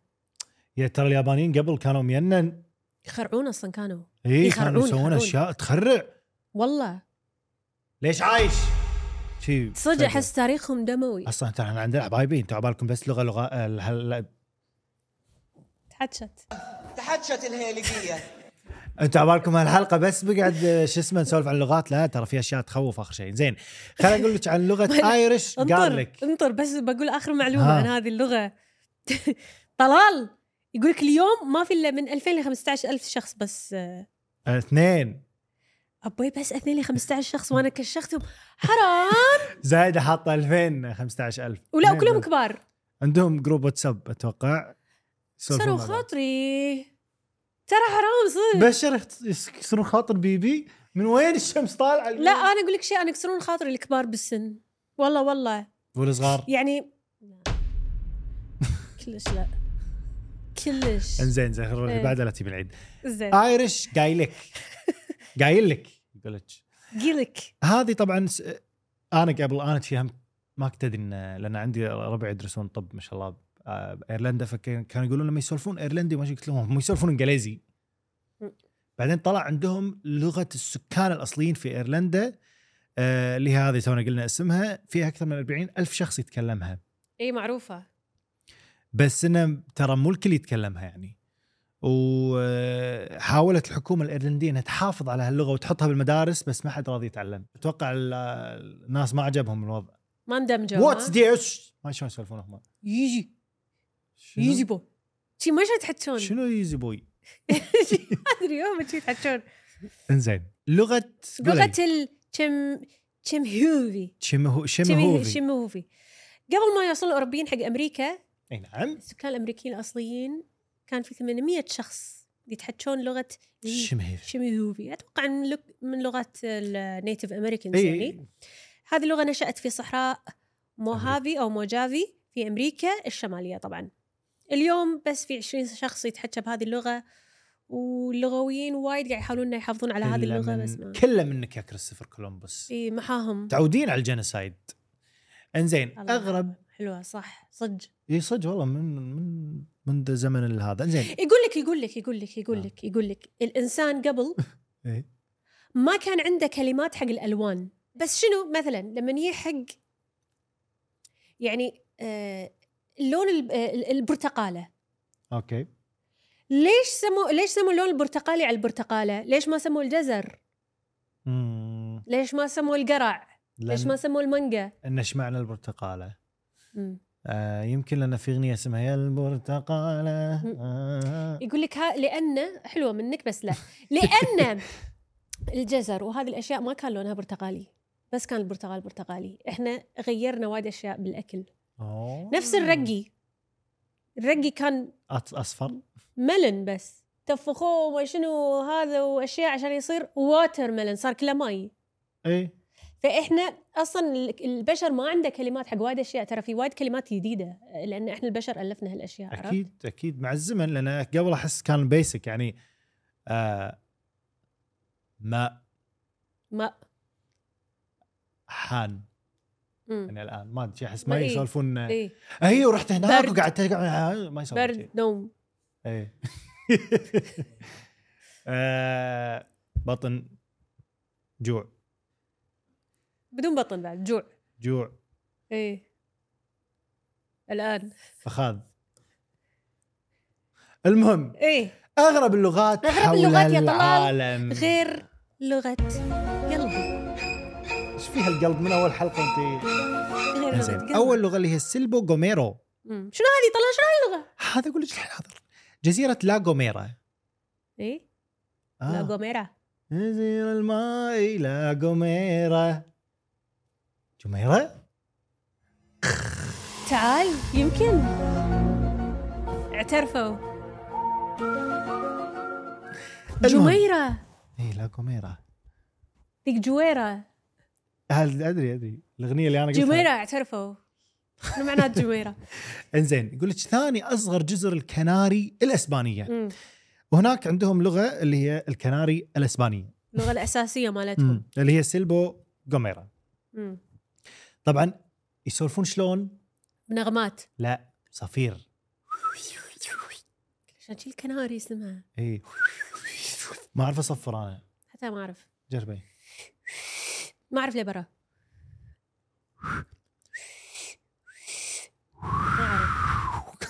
[SPEAKER 1] يا ترى اليابانيين قبل كانوا مينا
[SPEAKER 2] يخرعون اصلا كانوا
[SPEAKER 1] اي كانوا
[SPEAKER 2] يخرعون-
[SPEAKER 1] يسوون
[SPEAKER 2] يخرعون.
[SPEAKER 1] اشياء تخرع
[SPEAKER 2] والله
[SPEAKER 1] ليش عايش؟ شي
[SPEAKER 2] صدق
[SPEAKER 1] فجأة.
[SPEAKER 2] احس تاريخهم دموي
[SPEAKER 1] اصلا ترى احنا عندنا حبايبي انتوا عبالكم بس لغه لغه ال- هل...
[SPEAKER 2] تحتشت
[SPEAKER 4] تحتشت الهيلقية
[SPEAKER 1] انتوا عبالكم هالحلقه بس بقعد آه، شو اسمه نسولف عن لغات لا ترى في اشياء تخوف اخر شيء زين خليني اقول لك عن لغه ايرش
[SPEAKER 2] انطر
[SPEAKER 1] جارليك
[SPEAKER 2] انطر بس بقول اخر معلومه
[SPEAKER 1] ها.
[SPEAKER 2] عن هذه اللغه طلال يقول لك اليوم ما في الا من 2000 ل 15 الف شخص بس آه،
[SPEAKER 1] آه، اثنين
[SPEAKER 2] ابوي بس 2 ل 15 شخص وانا كشختهم حرام
[SPEAKER 1] زايده حاطه 2000 15000
[SPEAKER 2] ولا
[SPEAKER 1] اثنين
[SPEAKER 2] وكلهم
[SPEAKER 1] بس.
[SPEAKER 2] كبار
[SPEAKER 1] عندهم جروب واتساب اتوقع يسولفون
[SPEAKER 2] كسروا
[SPEAKER 1] مع بعض.
[SPEAKER 2] خاطري ترى حرام صدق
[SPEAKER 1] بشر يخت- يكسرون خاطر بيبي من وين الشمس طالعه
[SPEAKER 2] لا انا اقول لك شيء انا يكسرون خاطري الكبار بالسن والله والله
[SPEAKER 1] والصغار
[SPEAKER 2] يعني كلش لا كلش
[SPEAKER 1] انزين زين خلينا نروح اللي
[SPEAKER 2] إيه.
[SPEAKER 1] بعدها لا تبي العيد
[SPEAKER 2] زين
[SPEAKER 1] آه. ايرش قايلك قايل لك يقول لك
[SPEAKER 2] قلك
[SPEAKER 1] هذه طبعا س... انا قبل انا شي هم ما كنت ادري إن- لان عندي ربع يدرسون طب ما شاء الله آه، بايرلندا فكانوا يقولون لما يسولفون ايرلندي ما شي قلت لهم هم يسولفون انجليزي بعدين طلع عندهم لغه السكان الاصليين في ايرلندا آه، اللي هي هذه تونا قلنا اسمها فيها اكثر من 40 الف شخص يتكلمها
[SPEAKER 2] اي معروفه
[SPEAKER 1] بس انه ترى مو الكل يتكلمها يعني وحاولت الحكومه الايرلنديه انها تحافظ على هاللغه وتحطها بالمدارس بس ما حد راضي يتعلم اتوقع ال- الناس ما عجبهم الوضع
[SPEAKER 2] ما اندمجوا
[SPEAKER 1] واتس
[SPEAKER 2] ها؟
[SPEAKER 1] ذيس ما شلون يسولفون هم
[SPEAKER 2] يجي
[SPEAKER 1] شنو-
[SPEAKER 2] يجي بو شي ما شي تحكون
[SPEAKER 1] شنو يزي بوي
[SPEAKER 2] ما ادري هم شي تحكون
[SPEAKER 1] انزين لغه
[SPEAKER 2] لغه الشم شم هوفي
[SPEAKER 1] شمهو
[SPEAKER 2] شم
[SPEAKER 1] شمهوفي
[SPEAKER 2] شم هوفي قبل ما يوصل الاوروبيين حق امريكا
[SPEAKER 1] اي نعم
[SPEAKER 2] السكان الامريكيين الاصليين كان في 800 شخص يتحجون لغه
[SPEAKER 1] شمهيف
[SPEAKER 2] شميهوفي اتوقع من لغ- من لغات النيتف امريكانز يعني
[SPEAKER 1] اي
[SPEAKER 2] هذه اللغه نشات في صحراء موهافي او موجافي في امريكا الشماليه طبعا اليوم بس في 20 شخص يتحكى بهذه اللغه واللغويين وايد قاعد يحاولون إنه يحافظون على هذه اللغه بس ما
[SPEAKER 1] كله منك يا كريستوفر كولومبوس
[SPEAKER 2] اي محاهم
[SPEAKER 1] متعودين على الجنسايد انزين
[SPEAKER 2] الله.
[SPEAKER 1] اغرب
[SPEAKER 2] حلوه صح صدق
[SPEAKER 1] اي صدق والله من من منذ زمن هذا انزين
[SPEAKER 2] يقول لك يقول لك يقول لك يقول
[SPEAKER 1] نعم.
[SPEAKER 2] لك يقول لك الانسان قبل
[SPEAKER 1] إيه.
[SPEAKER 2] ما كان عنده كلمات حق الالوان بس شنو مثلا لما يجي حق يعني آه اللون الب- آه، البرتقاله
[SPEAKER 1] اوكي
[SPEAKER 2] ليش سموا ليش سموا اللون البرتقالي على البرتقاله؟ ليش ما سموا الجزر؟
[SPEAKER 1] امم
[SPEAKER 2] ليش ما سموا القرع؟ ليش ما سموا المانجا؟
[SPEAKER 1] ان اشمعنى البرتقاله؟
[SPEAKER 2] مم.
[SPEAKER 1] آه يمكن لان في اغنيه اسمها يا البرتقاله
[SPEAKER 2] مم.
[SPEAKER 1] آه.
[SPEAKER 2] يقول لك ها لانه حلوه منك بس لا لانه الجزر وهذه الاشياء ما كان لونها برتقالي بس كان البرتقال برتقالي احنا غيرنا وايد اشياء بالاكل
[SPEAKER 1] أوه.
[SPEAKER 2] نفس الرقي الرقي كان
[SPEAKER 1] أط- اصفر
[SPEAKER 2] ملن بس تفخوه وشنو هذا واشياء عشان يصير واتر ملن صار كله مي
[SPEAKER 1] اي
[SPEAKER 2] فاحنا اصلا ال- البشر ما عنده كلمات حق وايد اشياء ترى في وايد كلمات جديده لان احنا البشر الفنا هالاشياء عرفت؟
[SPEAKER 1] اكيد اكيد مع الزمن لان قبل احس كان بيسك يعني آه ماء
[SPEAKER 2] ما
[SPEAKER 1] حان
[SPEAKER 2] مم.
[SPEAKER 1] يعني الان ما ادري شي احس
[SPEAKER 2] ما
[SPEAKER 1] ما
[SPEAKER 2] إيه.
[SPEAKER 1] يسولفون آه،
[SPEAKER 2] ايه
[SPEAKER 1] اي ورحت هناك
[SPEAKER 2] برد.
[SPEAKER 1] وقعدت آه، ما يسولفون شي.
[SPEAKER 2] برد نوم
[SPEAKER 1] ايه آه، بطن جوع
[SPEAKER 2] بدون بطن بعد جوع
[SPEAKER 1] جوع
[SPEAKER 2] إيه. ايه الان
[SPEAKER 1] فخاذ المهم
[SPEAKER 2] ايه
[SPEAKER 1] اغرب اللغات
[SPEAKER 2] أغرب
[SPEAKER 1] حول
[SPEAKER 2] اللغات يا طلال
[SPEAKER 1] العالم
[SPEAKER 2] غير لغه قلبي
[SPEAKER 1] ايش فيها القلب من اول حلقه انت
[SPEAKER 2] غير لغه
[SPEAKER 1] زين
[SPEAKER 2] قلبي
[SPEAKER 1] اول لغه اللي هي السيلبو جوميرو
[SPEAKER 2] مم. شنو هذه طلع شنو هاللغه؟
[SPEAKER 1] هذا اقول لك حاضر جزيره لا جوميرا
[SPEAKER 2] ايه
[SPEAKER 1] آه.
[SPEAKER 2] لا جوميرا
[SPEAKER 1] نزير الماء إلى جميرة جميرة؟
[SPEAKER 2] تعال يمكن اعترفوا جميره
[SPEAKER 1] اي إيه، لا جميرة
[SPEAKER 2] ذيك جويره
[SPEAKER 1] هل ادري ادري الاغنية اللي انا قلتها
[SPEAKER 2] جميره اعترفوا شنو معنات جميره؟
[SPEAKER 1] انزين يقول لك ثاني اصغر جزر الكناري الاسبانية
[SPEAKER 2] مم.
[SPEAKER 1] وهناك عندهم لغة اللي هي الكناري الاسبانية
[SPEAKER 2] اللغه الاساسيه مالتهم
[SPEAKER 1] مم. اللي هي سيلبو جوميرا
[SPEAKER 2] مم.
[SPEAKER 1] طبعا يسولفون شلون؟
[SPEAKER 2] بنغمات
[SPEAKER 1] لا صفير
[SPEAKER 2] عشان شي الكناري اسمها
[SPEAKER 1] اي إيه. ما اعرف اصفر انا
[SPEAKER 2] حتى ما اعرف
[SPEAKER 1] جربي
[SPEAKER 2] ما اعرف ليه برا ما أعرف.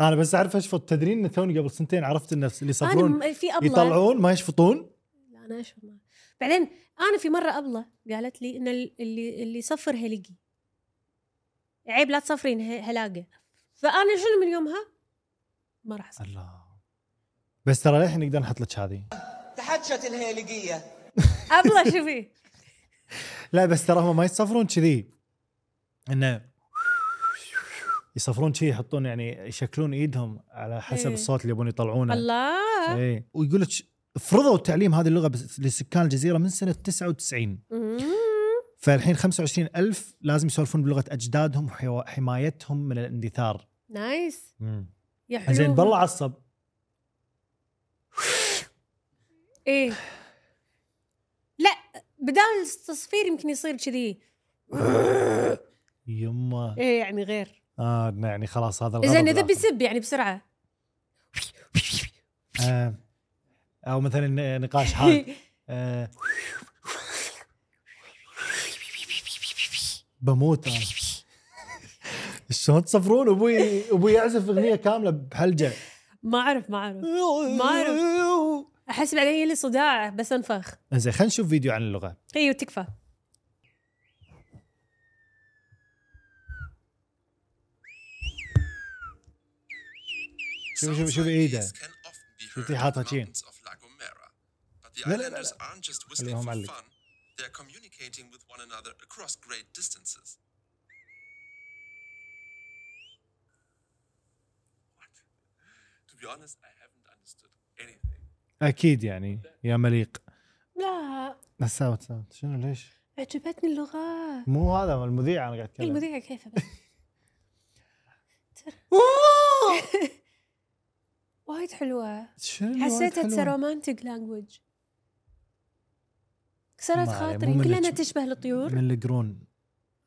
[SPEAKER 1] انا بس اعرف اشفط تدرين إن توني قبل سنتين عرفت الناس اللي
[SPEAKER 2] انا
[SPEAKER 1] يصفرون
[SPEAKER 2] م- في ابله
[SPEAKER 1] يطلعون ما يشفطون
[SPEAKER 2] لا انا اشوف ما بعدين انا في مره ابله قالت لي ان ال- اللي اللي يصفر هلقي عيب لا تصفرين ه- هلاقه فانا شنو من يومها ما راح اصفر
[SPEAKER 1] الله بس ترى للحين نقدر نحط لك هذه
[SPEAKER 4] تحتشت الهيلقية
[SPEAKER 2] ابله شوفي
[SPEAKER 1] نعم. لا بس ترى هم ما يصفرون كذي انه يصفرون كذي يحطون يعني يشكلون ايدهم على حسب
[SPEAKER 2] إيه.
[SPEAKER 1] الصوت اللي يبون يطلعونه
[SPEAKER 2] الله
[SPEAKER 1] اي ويقول لك فرضوا تعليم هذه اللغه بس- لسكان الجزيره من سنه 99
[SPEAKER 2] مم.
[SPEAKER 1] فالحين 25 ألف لازم يسولفون بلغه اجدادهم وحمايتهم من الاندثار
[SPEAKER 2] نايس يا حلو
[SPEAKER 1] زين بالله عصب
[SPEAKER 2] ايه لا بدال التصفير يمكن يصير كذي
[SPEAKER 1] يما
[SPEAKER 2] ايه يعني غير
[SPEAKER 1] اه يعني خلاص هذا الغضب
[SPEAKER 2] زين اذا
[SPEAKER 1] العصبي.
[SPEAKER 2] بيسب يعني بسرعه
[SPEAKER 1] آه، او مثلا نقاش حاد آه. بموت انا شلون تصفرون ابوي ابوي يعزف اغنيه كامله بحلجه
[SPEAKER 2] ما اعرف ما اعرف ما أعرف. احس بعدين يلي صداع بس انفخ
[SPEAKER 1] زين خلينا نشوف فيديو عن اللغه
[SPEAKER 2] ايوه تكفى
[SPEAKER 1] شوف شوف شوف ايده شفتي حاطها شي.
[SPEAKER 5] لا
[SPEAKER 1] لا، لا، لا، اللي هو معلق.
[SPEAKER 5] They're communicating with one another across great distances. What? To be honest, I haven't understood anything.
[SPEAKER 1] اكيد يعني يا مليق
[SPEAKER 2] لا
[SPEAKER 1] ساوت ساوت شنو ليش؟
[SPEAKER 2] عجبتني اللغه
[SPEAKER 1] مو هذا المذيع انا قاعد اتكلم
[SPEAKER 2] المذيعة كيفه بس وايد حلوه
[SPEAKER 1] شنو اللي وايد
[SPEAKER 2] حسيتها
[SPEAKER 1] حلوة؟
[SPEAKER 2] تصير رومانتك لانجوج كسرت
[SPEAKER 1] ما عليه،
[SPEAKER 2] خاطري
[SPEAKER 1] مو من
[SPEAKER 2] كلنا
[SPEAKER 1] الج-
[SPEAKER 2] تشبه الطيور
[SPEAKER 1] من القرون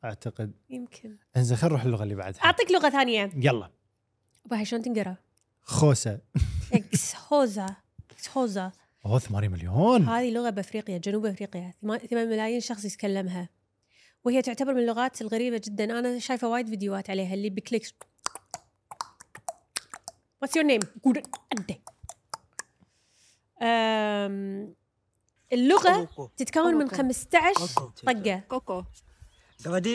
[SPEAKER 1] اعتقد
[SPEAKER 2] يمكن
[SPEAKER 1] انزين خلينا نروح اللغه اللي بعدها
[SPEAKER 2] اعطيك لغه ثانيه
[SPEAKER 1] يلا
[SPEAKER 2] باي شلون تنقرا
[SPEAKER 1] خوسه
[SPEAKER 2] اكسهوزا اكسهوزا
[SPEAKER 1] اوه 8 مليون
[SPEAKER 2] هذه لغه بافريقيا جنوب افريقيا 8 ملايين شخص يتكلمها وهي تعتبر من اللغات الغريبه جدا انا شايفه وايد فيديوهات عليها اللي بكليكس واتس يور نيم اللغه تتكون من 15 طقه
[SPEAKER 3] كوكو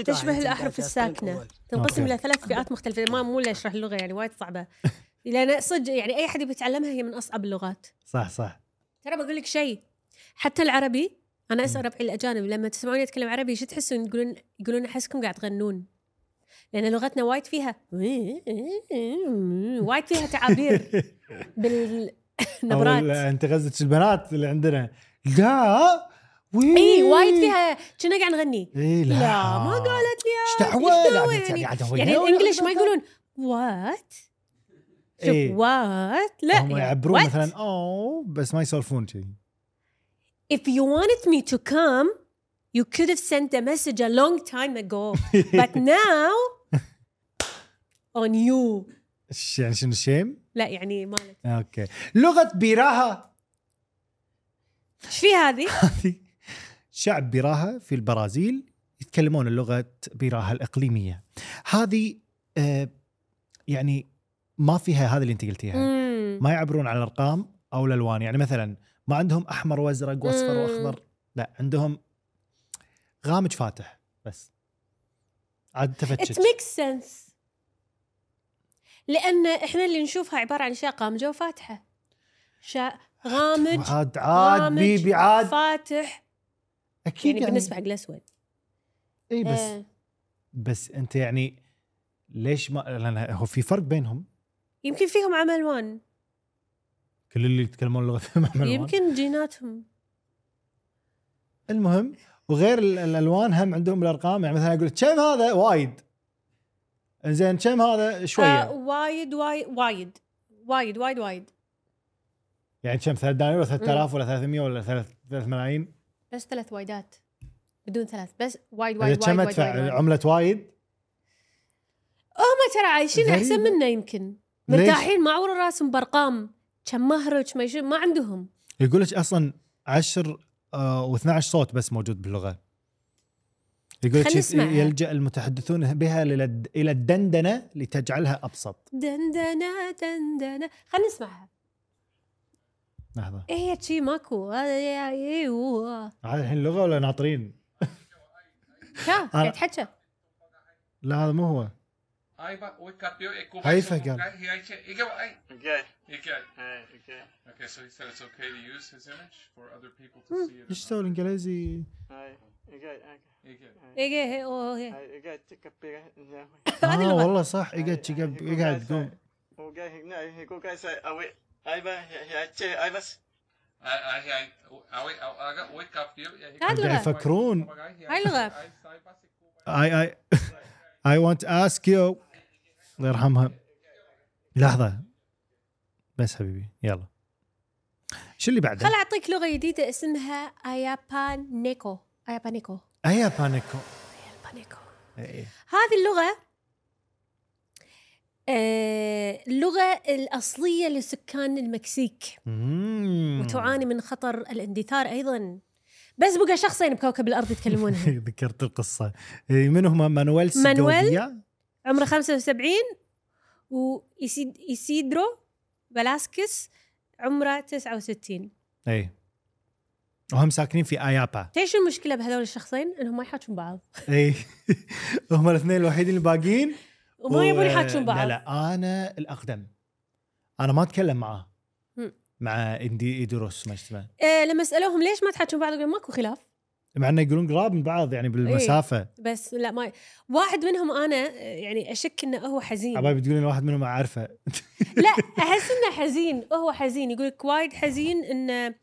[SPEAKER 2] تشبه الاحرف الساكنه تنقسم
[SPEAKER 1] أوكي.
[SPEAKER 2] الى ثلاث فئات مختلفه ما مو لي اشرح اللغه يعني وايد صعبه لان صدق يعني اي حد يبي يتعلمها هي من اصعب اللغات
[SPEAKER 1] صح صح
[SPEAKER 2] ترى بقول لك شيء حتى العربي انا اسال ربعي الاجانب لما تسمعوني اتكلم عربي شو تحسون يقولون يقولون احسكم قاعد تغنون لان لغتنا وايد فيها وايد فيها تعابير
[SPEAKER 1] أول-
[SPEAKER 2] بالنبرات
[SPEAKER 1] انت غزت البنات اللي عندنا لا وي
[SPEAKER 2] اي وايد فيها كنا قاعد نغني
[SPEAKER 1] اي لا
[SPEAKER 2] لا، ما
[SPEAKER 1] قالت لي ايش
[SPEAKER 2] إيش
[SPEAKER 1] دعوه
[SPEAKER 2] دعوة
[SPEAKER 1] لا،
[SPEAKER 2] يعني
[SPEAKER 1] قاعدة وياها
[SPEAKER 2] يعني
[SPEAKER 1] ولا
[SPEAKER 2] الانجليش ما
[SPEAKER 1] قاعدة
[SPEAKER 2] يقولون وات شوف
[SPEAKER 1] إيه.
[SPEAKER 2] وات لا
[SPEAKER 1] هم
[SPEAKER 2] يعني
[SPEAKER 1] يعبرون
[SPEAKER 2] what?
[SPEAKER 1] مثلا اوه بس ما يسولفون كذي
[SPEAKER 2] If you wanted me to come, you could have sent a message a long time ago. But now on you.
[SPEAKER 1] إيش يعني شنو الشيم؟
[SPEAKER 2] لا يعني ما لك.
[SPEAKER 1] اوكي لغه بيراها
[SPEAKER 2] ايش في هذه؟
[SPEAKER 1] شعب بيراها في البرازيل يتكلمون اللغه بيراها الاقليميه هذه آه يعني ما فيها هذا اللي انت قلتيها
[SPEAKER 2] مم.
[SPEAKER 1] ما يعبرون عن الارقام او الالوان يعني مثلا ما عندهم احمر وازرق واصفر
[SPEAKER 2] مم.
[SPEAKER 1] واخضر لا عندهم غامج فاتح بس عاد
[SPEAKER 2] ات
[SPEAKER 1] تفتش
[SPEAKER 2] ميك سنس لان احنا اللي نشوفها عباره عن اشياء غامجه وفاتحه اشياء غامج
[SPEAKER 1] عاد عاد
[SPEAKER 2] غامج
[SPEAKER 1] بيبي عاد
[SPEAKER 2] فاتح
[SPEAKER 1] اكيد
[SPEAKER 2] يعني بالنسبه حق الاسود
[SPEAKER 1] اي إيه، بس
[SPEAKER 2] آه.
[SPEAKER 1] بس انت يعني ليش ما لان هو في فرق بينهم
[SPEAKER 2] يمكن فيهم عمل الوان
[SPEAKER 1] كل اللي يتكلمون لغه الألوان.
[SPEAKER 2] يمكن جيناتهم
[SPEAKER 1] المهم وغير ال- الالوان هم عندهم الارقام يعني مثلا اقول كم هذا وايد زين كم هذا شويه
[SPEAKER 2] آه وايد وايد وايد وايد وايد وايد
[SPEAKER 1] يعني كم ثلاث دنانير ولا 3000 ولا 300 ولا 3 ملايين
[SPEAKER 2] بس ثلاث وايدات بدون ثلاث بس وايد
[SPEAKER 1] هذا
[SPEAKER 2] وايد وايد
[SPEAKER 1] كم
[SPEAKER 2] وايد,
[SPEAKER 1] ادفع
[SPEAKER 2] وايد, وايد.
[SPEAKER 1] عمله وايد
[SPEAKER 2] هم ترى عايشين
[SPEAKER 1] غريبة.
[SPEAKER 2] احسن منا يمكن
[SPEAKER 1] ليش؟
[SPEAKER 2] مرتاحين ما عوروا راسهم بارقام كم مهرج ما يشوف- ما عندهم
[SPEAKER 1] يقول لك اصلا 10 و12 صوت بس موجود باللغه يقول
[SPEAKER 2] خلنا
[SPEAKER 1] لك
[SPEAKER 2] نسمعها.
[SPEAKER 1] يلجا المتحدثون بها للد- الى الدندنه لتجعلها ابسط
[SPEAKER 2] دندنة دندنة خلينا نسمعها
[SPEAKER 1] لحظه
[SPEAKER 2] ايه شي ماكو هذا يا- ايوه
[SPEAKER 1] هذا الحين لغه ولا ناطرين؟
[SPEAKER 2] شا قاعد تحكى
[SPEAKER 1] لا هذا مو هو
[SPEAKER 6] Aivan, uikka työ, ei kuva.
[SPEAKER 1] Aivan, kyllä.
[SPEAKER 6] Ei, ei, ei, ei, ei,
[SPEAKER 7] Okay.
[SPEAKER 6] ei,
[SPEAKER 7] Hey, okay.
[SPEAKER 6] Okay, so he said it's okay to use his image for other people to see it.
[SPEAKER 1] ايش سوى الانجليزي؟
[SPEAKER 7] Hey, okay, okay.
[SPEAKER 6] Hey,
[SPEAKER 2] ايه إيه، أوه، إيه.
[SPEAKER 7] Hey, okay, take a eh. picture. No.
[SPEAKER 2] هذه
[SPEAKER 1] آه
[SPEAKER 2] اللغة.
[SPEAKER 1] والله صح يقعد شقب- يقعد يقوم
[SPEAKER 7] Okay, no, he go guys. I wait. I was, I was.
[SPEAKER 6] Ai, ai, ai, ai, aga, uikka työ, ei,
[SPEAKER 2] هذه
[SPEAKER 1] قاعد
[SPEAKER 2] اللغة
[SPEAKER 1] يفكرون
[SPEAKER 2] هاي اللغة
[SPEAKER 1] اي اي اي ونت اسك يو الله يرحمها لحظه بس حبيبي يلا شو اللي بعده؟
[SPEAKER 2] خل اعطيك لغة جديدة اسمها ايابانيكو ايابانيكو
[SPEAKER 1] اي بانيكو
[SPEAKER 2] ايابانيكو
[SPEAKER 1] إي.
[SPEAKER 2] هذه اللغة آه، اللغة الأصلية لسكان المكسيك
[SPEAKER 1] مم.
[SPEAKER 2] وتعاني من خطر الاندثار أيضا بس بقى شخصين بكوكب الأرض يتكلمونها
[SPEAKER 1] ذكرت القصه إي، من هم مانويل
[SPEAKER 2] مانويل؟
[SPEAKER 1] سيجوفيا
[SPEAKER 2] عمره 75 وإيسيدرو فلاسكيس عمره 69
[SPEAKER 1] اي إيه. وهم ساكنين في ايابا
[SPEAKER 2] تعرف شو المشكلة بهذول الشخصين؟ إنهم ما يحاكون بعض
[SPEAKER 1] اي إيه. هم الاثنين الوحيدين الباقيين هو-
[SPEAKER 2] وما يبون يحاكون بعض
[SPEAKER 1] آه، لا لا انا الاقدم انا ما اتكلم معاه
[SPEAKER 2] مم.
[SPEAKER 1] مع اندي ايدروس ما اسمه
[SPEAKER 2] آه، لما سألوهم ليش ما تحاكون بعض يقولون ماكو خلاف
[SPEAKER 1] مع انه يقولون قراب من بعض
[SPEAKER 2] إيه.
[SPEAKER 1] يعني بالمسافه
[SPEAKER 2] بس لا ما واحد منهم أنا آه، يعني أشك إنه هو حزين
[SPEAKER 1] عبالي بتقولين واحد منهم اعرفه
[SPEAKER 2] لا احس انه حزين هو حزين يقول لك وايد حزين انه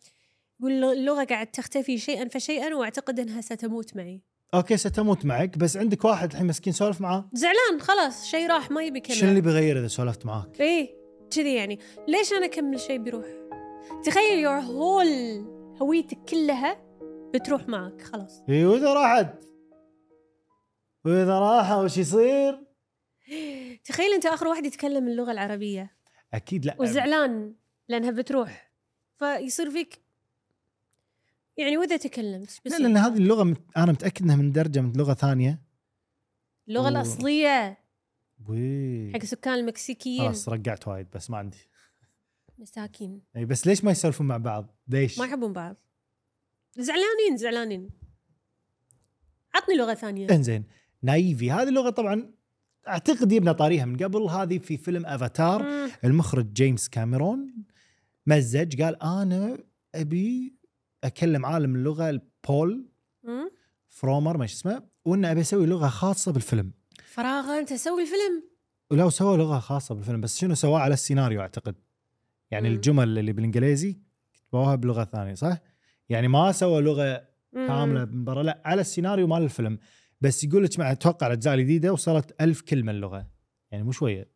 [SPEAKER 2] يقول اللغه قاعد تختفي شيئا فشيئا واعتقد انها ستموت معي
[SPEAKER 1] اوكي ستموت معك بس عندك واحد الحين مسكين سولف معاه
[SPEAKER 2] زعلان خلاص شيء راح ما يبي
[SPEAKER 1] شنو اللي
[SPEAKER 2] كمل
[SPEAKER 1] بيغير اذا سولفت معاك؟
[SPEAKER 2] ايه كذي يعني ليش انا اكمل شيء بيروح تخيل يور هول هويتك كلها بتروح معك خلاص
[SPEAKER 1] اي واذا إيه، راحت واذا راحه وش يصير؟
[SPEAKER 2] تخيل انت اخر واحد يتكلم اللغه العربيه
[SPEAKER 1] اكيد لا
[SPEAKER 2] وزعلان لانها بتروح فيصير فيك يعني واذا تكلمت
[SPEAKER 1] لا
[SPEAKER 2] بس
[SPEAKER 1] لان هذه اللغه مت... انا متاكد انها من درجه من لغه ثانيه
[SPEAKER 2] اللغه
[SPEAKER 1] أوه.
[SPEAKER 2] الاصليه
[SPEAKER 1] وي
[SPEAKER 2] حق سكان المكسيكيين
[SPEAKER 1] خلاص رقعت وايد بس ما عندي
[SPEAKER 2] مساكين
[SPEAKER 1] اي بس ليش ما يسولفون مع بعض؟ ليش؟
[SPEAKER 2] ما يحبون بعض زعلانين زعلانين عطني لغه ثانيه
[SPEAKER 1] انزين نايفي هذه اللغه طبعا اعتقد يبنى طاريها من قبل هذه في فيلم افاتار
[SPEAKER 2] مم.
[SPEAKER 1] المخرج جيمس كاميرون مزج قال انا ابي اكلم عالم اللغه بول
[SPEAKER 2] مم.
[SPEAKER 1] فرومر ما شو اسمه وانه ابي اسوي لغه خاصه بالفيلم
[SPEAKER 2] فراغ انت سوي الفيلم
[SPEAKER 1] ولو سوى لغه خاصه بالفيلم بس شنو سواه على السيناريو اعتقد يعني
[SPEAKER 2] مم.
[SPEAKER 1] الجمل اللي بالانجليزي كتبوها بلغه ثانيه صح؟ يعني ما سوى لغه
[SPEAKER 2] مم.
[SPEAKER 1] كامله من برا لا على السيناريو مال الفيلم بس يقول لك مع اتوقع الاجزاء الجديده وصلت ألف كلمه اللغه يعني مو شويه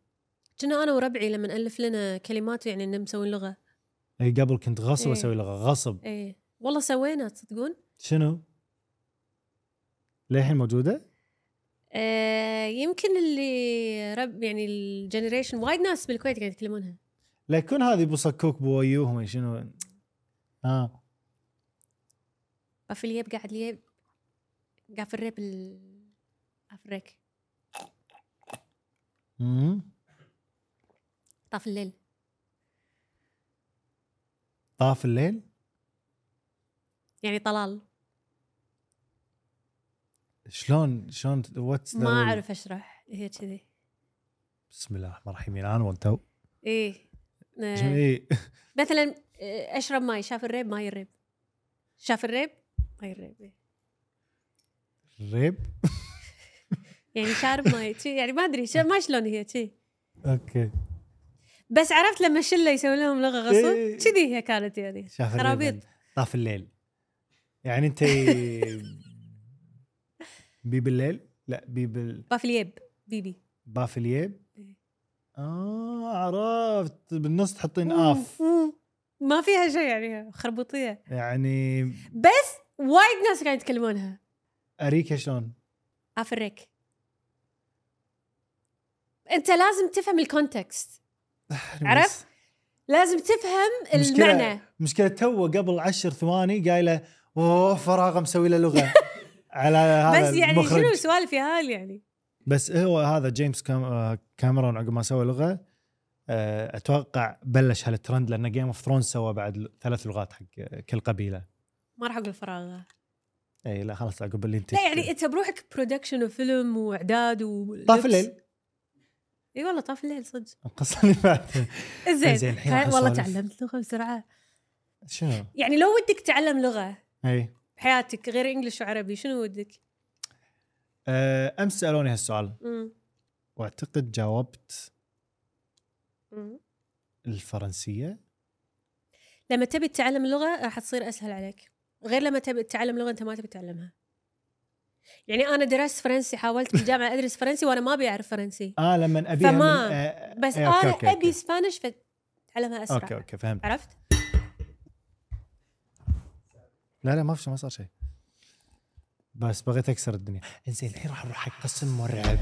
[SPEAKER 2] كنا انا وربعي لما نالف لنا كلمات يعني انه مسوين لغه
[SPEAKER 1] أي قبل كنت غصب
[SPEAKER 2] إيه.
[SPEAKER 1] اسوي لغه غصب
[SPEAKER 2] ايه والله سوينا تصدقون
[SPEAKER 1] شنو؟ للحين موجوده؟
[SPEAKER 2] آه يمكن اللي رب يعني الجنريشن وايد ناس بالكويت قاعد يتكلمونها
[SPEAKER 1] لا يكون هذه بصكوك بويوهم يعني شنو؟ اه
[SPEAKER 2] قاف اليب قاعد اليب قاف الريب ال- قاف الريك
[SPEAKER 1] امم
[SPEAKER 2] طاف الليل
[SPEAKER 1] طاف الليل
[SPEAKER 2] يعني طلال
[SPEAKER 1] شلون شلون واتس
[SPEAKER 2] ما اعرف اشرح هي كذي
[SPEAKER 1] بسم الله الرحمن الرحيم الان والتو
[SPEAKER 2] ايه آه،
[SPEAKER 1] اي
[SPEAKER 2] مثلا آه، اشرب ماي شاف الريب ماي الريب شاف الريب ماي الريب إيه.
[SPEAKER 1] الريب
[SPEAKER 2] يعني شارب ماي شي، يعني ما ادري شا- ما شلون هي شي
[SPEAKER 1] اوكي
[SPEAKER 2] بس عرفت لما شله يسوي لهم لغه غصب
[SPEAKER 1] إيه.
[SPEAKER 2] كذي هي كانت يعني
[SPEAKER 1] شاف الريب
[SPEAKER 2] خرابيط
[SPEAKER 1] طاف الليل يعني انت بيب الليل لا بيب ال-
[SPEAKER 2] باف اليب بيبي
[SPEAKER 1] باف اليب
[SPEAKER 2] إيه.
[SPEAKER 1] اه عرفت بالنص تحطين اف
[SPEAKER 2] مم. ما فيها شيء يعني خربوطيه
[SPEAKER 1] يعني
[SPEAKER 2] بس وايد ناس قاعد يتكلمونها
[SPEAKER 1] اريكا شلون
[SPEAKER 2] افرك انت لازم تفهم الكونتكست عرفت؟ لازم تفهم
[SPEAKER 1] مشكلة-
[SPEAKER 2] المعنى
[SPEAKER 1] مشكلة تو قبل عشر ثواني قايله اوه فراغ مسوي له لغة على هذا
[SPEAKER 2] بس يعني
[SPEAKER 1] المخرج.
[SPEAKER 2] شنو سوالف يا هال يعني
[SPEAKER 1] بس هو هذا جيمس كام... آه، كاميرون عقب ما سوى لغة آه، اتوقع بلش هالترند لان جيم اوف ثرونز سوى بعد ل- ثلاث لغات حق آه، كل قبيلة
[SPEAKER 2] ما راح اقول فراغه
[SPEAKER 1] اي لا خلاص عقب اللي انت
[SPEAKER 2] لا يعني انت بروحك برودكشن وفيلم واعداد و
[SPEAKER 1] طاف الليل
[SPEAKER 2] اي والله طاف الليل صدق
[SPEAKER 1] القصة اللي بعدها
[SPEAKER 2] زين
[SPEAKER 1] زين، الحين راح
[SPEAKER 2] خل- والله
[SPEAKER 1] نسولف.
[SPEAKER 2] تعلمت لغه بسرعه
[SPEAKER 1] شنو؟
[SPEAKER 2] يعني لو ودك تعلم لغه
[SPEAKER 1] اي
[SPEAKER 2] بحياتك غير انجلش وعربي شنو ودك؟
[SPEAKER 1] آه، امس سالوني هالسؤال
[SPEAKER 2] مم.
[SPEAKER 1] واعتقد جاوبت
[SPEAKER 2] مم.
[SPEAKER 1] الفرنسية
[SPEAKER 2] لما تبي تتعلم لغه راح تصير اسهل عليك غير لما تبي تتعلم لغه انت ما تبي تتعلمها يعني انا درست فرنسي حاولت بالجامعه ادرس فرنسي وانا ما ابي اعرف فرنسي
[SPEAKER 1] اه لما ابيها من
[SPEAKER 2] فما-
[SPEAKER 1] آه،
[SPEAKER 2] بس
[SPEAKER 1] إيه،
[SPEAKER 2] انا
[SPEAKER 1] أوكي، أوكي،
[SPEAKER 2] ابي
[SPEAKER 1] أوكي.
[SPEAKER 2] سبانش فتعلمها اسرع
[SPEAKER 1] اوكي اوكي فهمت
[SPEAKER 2] عرفت؟
[SPEAKER 1] لا لا ما في شيء، ما صار شيء بس بغيت اكسر الدنيا انزين الحين راح نروح حق قسم مرعب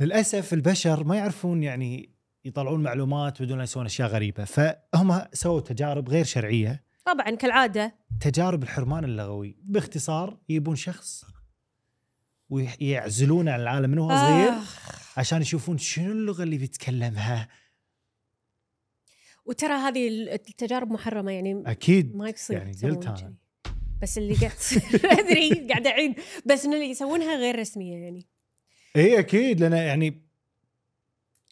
[SPEAKER 1] للاسف البشر ما يعرفون يعني يطلعون معلومات بدون لا يسوون اشياء غريبه فهم سووا تجارب غير شرعيه
[SPEAKER 2] طبعا كالعاده
[SPEAKER 1] تجارب الحرمان اللغوي باختصار يجيبون شخص ويعزلونه عن العالم من هو صغير
[SPEAKER 2] آه.
[SPEAKER 1] عشان يشوفون شنو اللغه اللي بيتكلمها
[SPEAKER 2] وترى هذه التجارب محرمه يعني
[SPEAKER 1] اكيد
[SPEAKER 2] ما يصير
[SPEAKER 1] يعني
[SPEAKER 2] يسوون
[SPEAKER 1] قلت
[SPEAKER 2] شي.
[SPEAKER 1] انا
[SPEAKER 2] بس اللي قاعد تصير- ادري قاعد اعيد بس انه اللي يسوونها غير رسميه يعني
[SPEAKER 1] اي اكيد لان يعني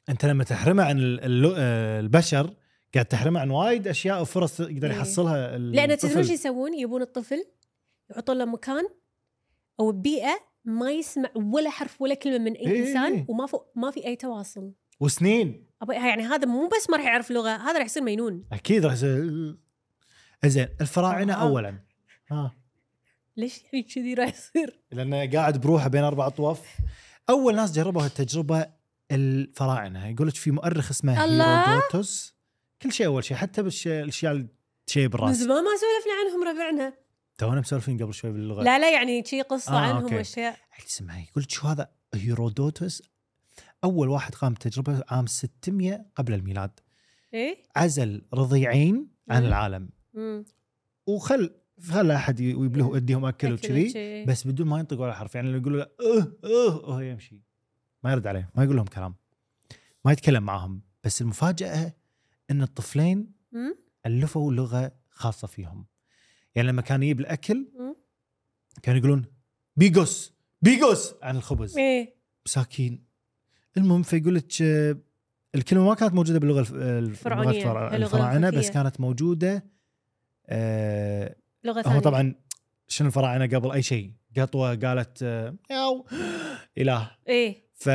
[SPEAKER 1] انت لما تحرمه عن ال- الل- آه، البشر قاعد تحرمه عن وايد اشياء وفرص يقدر
[SPEAKER 2] إيه.
[SPEAKER 1] يحصلها
[SPEAKER 2] لان تدرون
[SPEAKER 1] الطفل.
[SPEAKER 2] ايش يسوون؟ يبون الطفل يحطون له مكان او بيئه ما يسمع ولا حرف ولا كلمه من اي
[SPEAKER 1] إيه.
[SPEAKER 2] انسان وما فوق ما في اي تواصل
[SPEAKER 1] وسنين
[SPEAKER 2] أبا- يعني هذا مو بس ما راح يعرف لغه هذا راح يصير مجنون
[SPEAKER 1] اكيد راح يصير- زين الفراعنه
[SPEAKER 2] آه.
[SPEAKER 1] اولا ها
[SPEAKER 2] ليش يعني كذي راح يصير؟
[SPEAKER 1] لانه قاعد بروحه بين اربع اطواف اول ناس جربوا هالتجربه الفراعنه يقول لك في مؤرخ اسمه
[SPEAKER 2] الله!
[SPEAKER 1] هيرودوتوس كل شيء اول شيء حتى بالاشياء الاشياء اللي شيء
[SPEAKER 2] من
[SPEAKER 1] بالراس
[SPEAKER 2] زمان ما سولفنا عنهم ربعنا
[SPEAKER 1] تونا مسولفين قبل شوي باللغه
[SPEAKER 2] لا لا يعني شي قصه
[SPEAKER 1] آه،
[SPEAKER 2] آه عنهم
[SPEAKER 1] أوكي.
[SPEAKER 2] واشياء
[SPEAKER 1] اسمعي يقول لك شو هذا هيرودوتوس اول واحد قام بتجربه عام 600 قبل الميلاد
[SPEAKER 2] ايه
[SPEAKER 1] عزل رضيعين عن
[SPEAKER 2] مم.
[SPEAKER 1] العالم
[SPEAKER 2] مم.
[SPEAKER 1] وخل خلى احد يبله يديهم اكل
[SPEAKER 2] أكل
[SPEAKER 1] وكذي
[SPEAKER 2] وشي.
[SPEAKER 1] بس بدون ما ينطق ولا حرف يعني اللي يقول له اه اه وهو يمشي ما يرد عليه ما يقول لهم كلام ما يتكلم معاهم بس المفاجاه ان الطفلين
[SPEAKER 2] مم.
[SPEAKER 1] الفوا لغه خاصه فيهم يعني لما كان يجيب الاكل
[SPEAKER 2] مم.
[SPEAKER 1] كانوا يقولون بيجوس بيجوس عن الخبز
[SPEAKER 2] ايه
[SPEAKER 1] مساكين المهم فيقول لك آه، الكلمه ما كانت موجوده باللغه الف- آه،
[SPEAKER 2] الفرعونية،
[SPEAKER 1] اللغة الفرع-
[SPEAKER 2] اللغة
[SPEAKER 1] الفراعنه بس
[SPEAKER 2] الخفية.
[SPEAKER 1] كانت موجوده آه،
[SPEAKER 2] لغه ثانيه
[SPEAKER 1] هو طبعا شنو الفراعنه قبل اي شيء قطوه قالت آه، ياو اله
[SPEAKER 2] ايه
[SPEAKER 1] ف